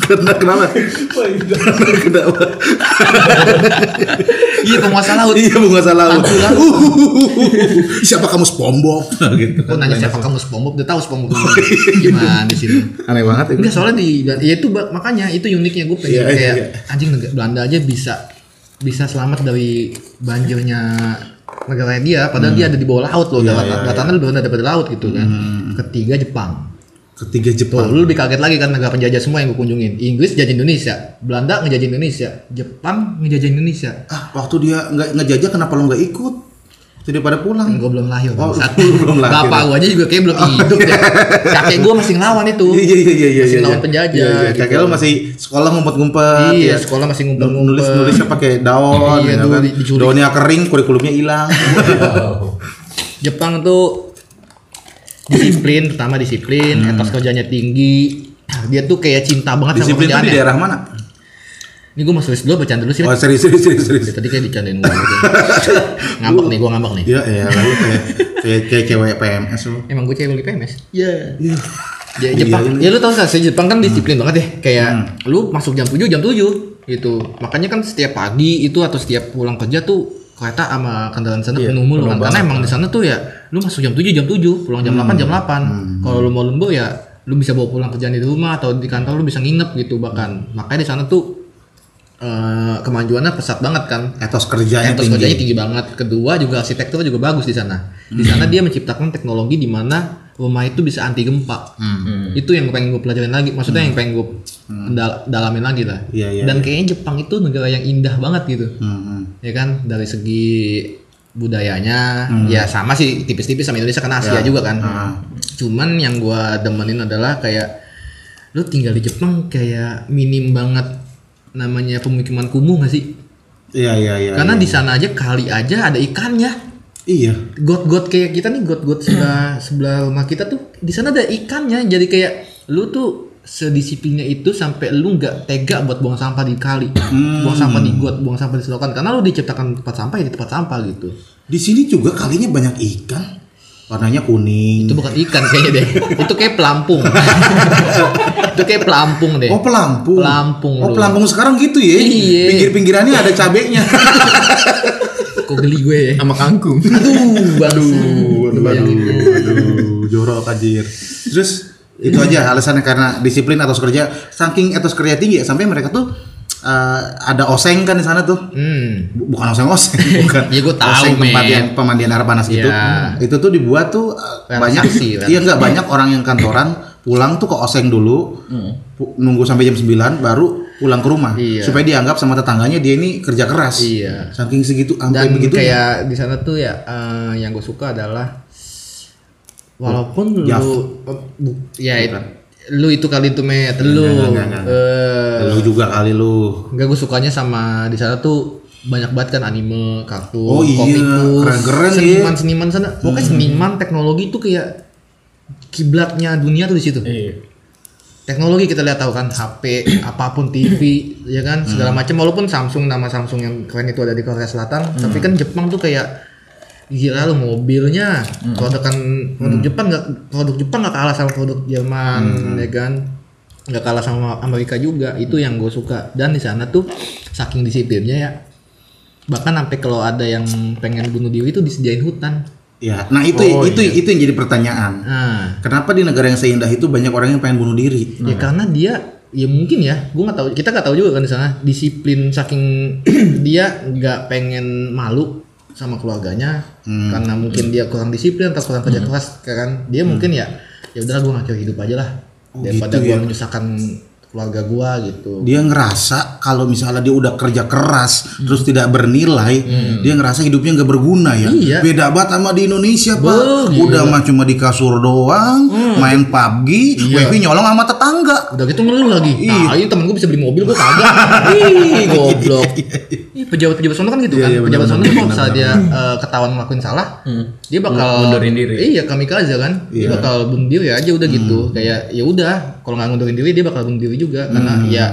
A: karena kenapa? karena kenapa?
B: Iya penguasa laut.
A: iya, bunga salah. lu.
B: Langsung, langsung.
A: Uhuhuhuhu. Siapa kamu SpongeBob? Nah, gitu.
B: Gue nanya siapa kamu SpongeBob, dia tahu SpongeBob gimana di sini.
A: Aneh banget itu.
B: Enggak soalnya di ya itu ba- makanya itu uniknya gue pengen
A: Iya,
B: kayak
A: iya.
B: anjing negara Belanda aja bisa bisa selamat dari banjirnya negara dia padahal
A: Hmm.
B: dia ada di bawah laut
A: Iya,
B: loh darat- daratannya lebih rendah daripada laut gitu kan ketiga Jepang
A: Ketiga
B: Tuh,
A: Hmm. Jepang.
B: lu lebih kaget lagi kan negara penjajah semua yang gue kunjungin. Inggris jajah Indonesia, Belanda ngejajah Indonesia, Jepang ngejajah Indonesia.
A: Ah, waktu dia nggak ngejajah kenapa lu nggak ikut? Tidak pada pulang.
B: Gue Kan belum lahir.
A: Oh,
B: bangsat.
A: lu belum lahir.
B: Bapak gue aja juga kayak belum hidup ya. Kakek gue masih ngelawan itu.
A: Iya iya iya iya iya.
B: Masih
A: iya,
B: lawan
A: iya.
B: penjajah,
A: Iya, iya.
B: gitu.
A: Kakek lo masih sekolah ngumpet-ngumpet.
B: Iya,
A: ya.
B: sekolah masih ngumpul-ngumpul.
A: nulis nulisnya pakai daun,
B: Iya,
A: ya
B: dulu
A: kan?
B: di- diculik.
A: daunnya kering, kurikulumnya hilang.
B: Jepang tuh disiplin, pertama disiplin,
A: Hmm.
B: etos kerjanya tinggi. Dia tuh kayak cinta banget
A: Disiplin
B: sama
A: itu di
B: kerjaannya.
A: daerah mana?
B: Ini gue mau serius dulu bacaan dulu sih.
A: Oh serius serius serius serius.
B: Tadi kayak dicandain gue. ngambek nih, gue ngambek nih.
A: Ya ya lalu kayak kayak kayak cewek PMS lo.
B: Emang gue cewek lagi PMS? Iya.
A: Iya.
B: Ya, Jepang. Ya lu tau gak sih Jepang kan disiplin banget ya. Kayak lu masuk jam 7 jam 7 gitu. Makanya kan setiap pagi itu atau setiap pulang kerja tuh kereta sama kendaraan sana penuh mulu kan. Karena emang di sana tuh ya lu masuk jam 7 jam 7, pulang jam 8 jam 8. Kalau lu mau lembur ya lu bisa bawa pulang kerjaan di rumah atau di kantor lu bisa nginep gitu bahkan. Makanya di sana tuh eh, kemajuannya pesat banget kan.
A: Etos kerjanya
B: Etos
A: tinggi.
B: kerjanya tinggi banget. Kedua juga arsitektur juga bagus di sana. Di sana
A: Hmm.
B: dia menciptakan teknologi di mana rumah itu bisa anti gempa.
A: Hmm.
B: Itu yang pengen gue pelajarin lagi. Maksudnya yang pengen gue dal- dalamin lagi lah.
A: Iya, iya,
B: Dan kayaknya Jepang itu negara yang indah banget gitu.
A: Hmm, hmm.
B: Ya kan dari segi budayanya
A: Hmm.
B: ya sama sih tipis-tipis sama Indonesia karena
A: Ya.
B: Asia juga kan.
A: Ah.
B: Cuman yang gua demenin adalah kayak lu tinggal di Jepang kayak minim banget namanya pemukiman kumuh gak sih?
A: Iya iya iya.
B: Karena
A: iya.
B: di sana aja kali aja ada ikannya.
A: iya.
B: Got-got kayak kita nih, got-got sebelah sebelah rumah kita tuh di sana ada ikannya. Jadi kayak lu tuh sedisiplinnya itu sampai lu nggak tega buat buang sampah di kali, buang sampah
A: Hmm.
B: di got, buang sampah di selokan. Karena lu diciptakan tempat sampah ya di tempat sampah gitu.
A: Di sini juga kalinya banyak ikan. Warnanya kuning.
B: Itu bukan ikan kayaknya deh. itu kayak pelampung. itu kayak pelampung deh.
A: Oh pelampung.
B: Pelampung
A: Oh
B: lu.
A: pelampung sekarang gitu ya.
B: Iya.
A: Pinggir-pinggirannya ada cabenya.
B: Kok geli gue ya?
C: sama kangkung
B: Aduh, Iya.
A: aduh, aduh,
B: Bayangin.
A: aduh, aduh, Iya. jorok anjir. Terus itu aja alasannya karena disiplin atau kerja saking etos kerja tinggi ya, sampai mereka tuh eh, ada oseng kan di sana tuh.
B: Hmm.
A: Bu- Bukan oseng-oseng, bukan.
B: Ya, gua tahu,
A: Oseng
B: men.
A: tempat yang pemandian air panas gitu.
B: Ya.
A: Itu tuh dibuat tuh eh, banyak
B: Relaksasi, relaksasi.
A: Iya enggak banyak orang yang kantoran pulang tuh ke oseng dulu. pu- Nunggu sampai jam 9 baru pulang ke rumah
B: Mm. Iya.
A: supaya dianggap sama tetangganya dia ini kerja keras.
B: Iya.
A: Saking segitu sampai
B: dan
A: begitu. ya?
B: kayak di sana tuh ya eh, yang gue suka adalah walaupun
A: Jav.
B: lu eh, bu- ya itu lu itu kali itu met lu
A: enggak, enggak, enggak.
B: eh,
A: ya, lu juga kali lu.
B: enggak gue sukanya sama di sana tuh banyak banget kan anime kartun
A: Oh iya,
B: komikus
A: keren-keren Hmm. ya.
B: seniman seniman sana pokoknya seniman teknologi tuh kayak kiblatnya dunia tuh di situ
C: iya
B: teknologi kita lihat tahu kan HP apapun TV ya kan segala macam walaupun Samsung nama Samsung yang keren itu ada di Korea Selatan tapi kan Jepang tuh kayak gila lu mobilnya produk kan produk Jepang nggak produk Jepang nggak kalah sama produk Jerman ya kan nggak kalah sama Amerika juga itu yang gue suka dan di sana tuh saking disiplinnya ya bahkan sampai kalau ada yang pengen bunuh diri itu disediain hutan
A: Ya, nah itu
C: Oh,
A: itu
B: iya.
A: itu yang jadi pertanyaan.
B: nah
A: Kenapa di negara yang seindah itu banyak orang yang pengen bunuh diri?
B: Ya karena dia ya mungkin ya, gue nggak tahu, kita nggak tahu juga kan di sana disiplin saking dia nggak pengen malu sama keluarganya
A: Hmm.
B: karena mungkin dia kurang disiplin atau kurang kerja keras kan dia mungkin ya ya udahlah gue ngakhir hidup aja lah
A: Hmm. Oh,
B: daripada
A: gitu
B: gue
A: ya.
B: menyusahkan keluarga gue gitu
A: Dia ngerasa kalau misalnya dia udah kerja keras terus tidak bernilai, dia ngerasa hidupnya nggak berguna ya.
B: Hmm. Iya.
A: Beda banget sama di Indonesia, Pak.
B: Beuh,
A: Udah mah cuma di kasur doang,
B: Hmm.
A: main PUBG,
B: Iya.
A: wifi nyolong sama tetangga.
B: udah gitu ngeluh lagi
A: Iya.
B: nah ini temen gue bisa beli mobil gue kagak ih goblok Ih, pejabat-pejabat sana kan gitu kan
A: Iya, iya,
B: pejabat sana
A: benar-benar, Hmm.
B: kalau misalnya dia eh, ketahuan ngelakuin salah dia bakal
C: Ngundurin diri.
B: iya kamikaze kan dia
A: Iya. Hmm.
B: bakal bunuh diri aja udah gitu kayak ya udah kalau nggak ngundurin diri dia bakal bunuh diri juga karena ya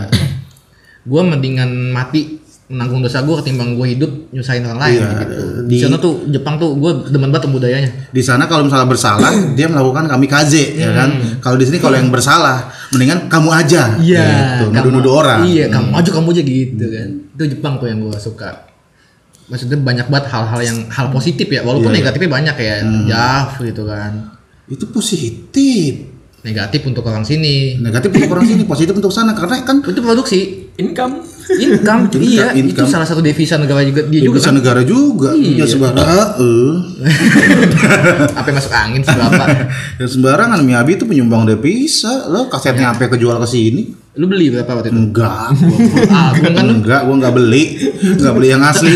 B: gue mendingan mati menanggung dosa gue ketimbang gue hidup nyusahin orang lain
A: Iya,
B: gitu di
A: di-
B: sana tuh Jepang tuh gue demen banget sama budayanya
A: Di sana kalau misalnya bersalah, dia melakukan kamikaze, ya kan?
B: Hmm.
A: Kalau di sini kalau yang bersalah, mendingan kamu aja. gitu,
B: Iya, kamu-
A: nuduh-nuduh orang. Hmm.
B: Iya, kamu aja kamu aja gitu kan. Itu Jepang tuh yang gua suka. Maksudnya banyak banget hal-hal yang hal positif ya, walaupun
A: Iya.
B: negatifnya banyak ya,
A: Hmm.
B: jaf gitu kan.
A: Itu positif.
B: Negatif untuk orang sini.
A: Negatif untuk orang sini, positif untuk sana karena kan
B: Itu produksi
C: income
B: income, iya, itu
A: income.
B: salah satu devisa negara juga dia
A: Dia
B: juga
A: bisa
B: kan.
A: negara juga.
B: Iya.
A: Ya sembarangan. eh.
B: Apa yang masuk angin seberapa?
A: Ya sembarangan Miyabi itu penyumbang devisa. Lo kasetnya sampai kejual ke sini?
B: Lu beli berapa waktu itu?
A: Enggak. gua-
B: Album kan lu
A: enggak, gua enggak beli. Enggak beli yang asli.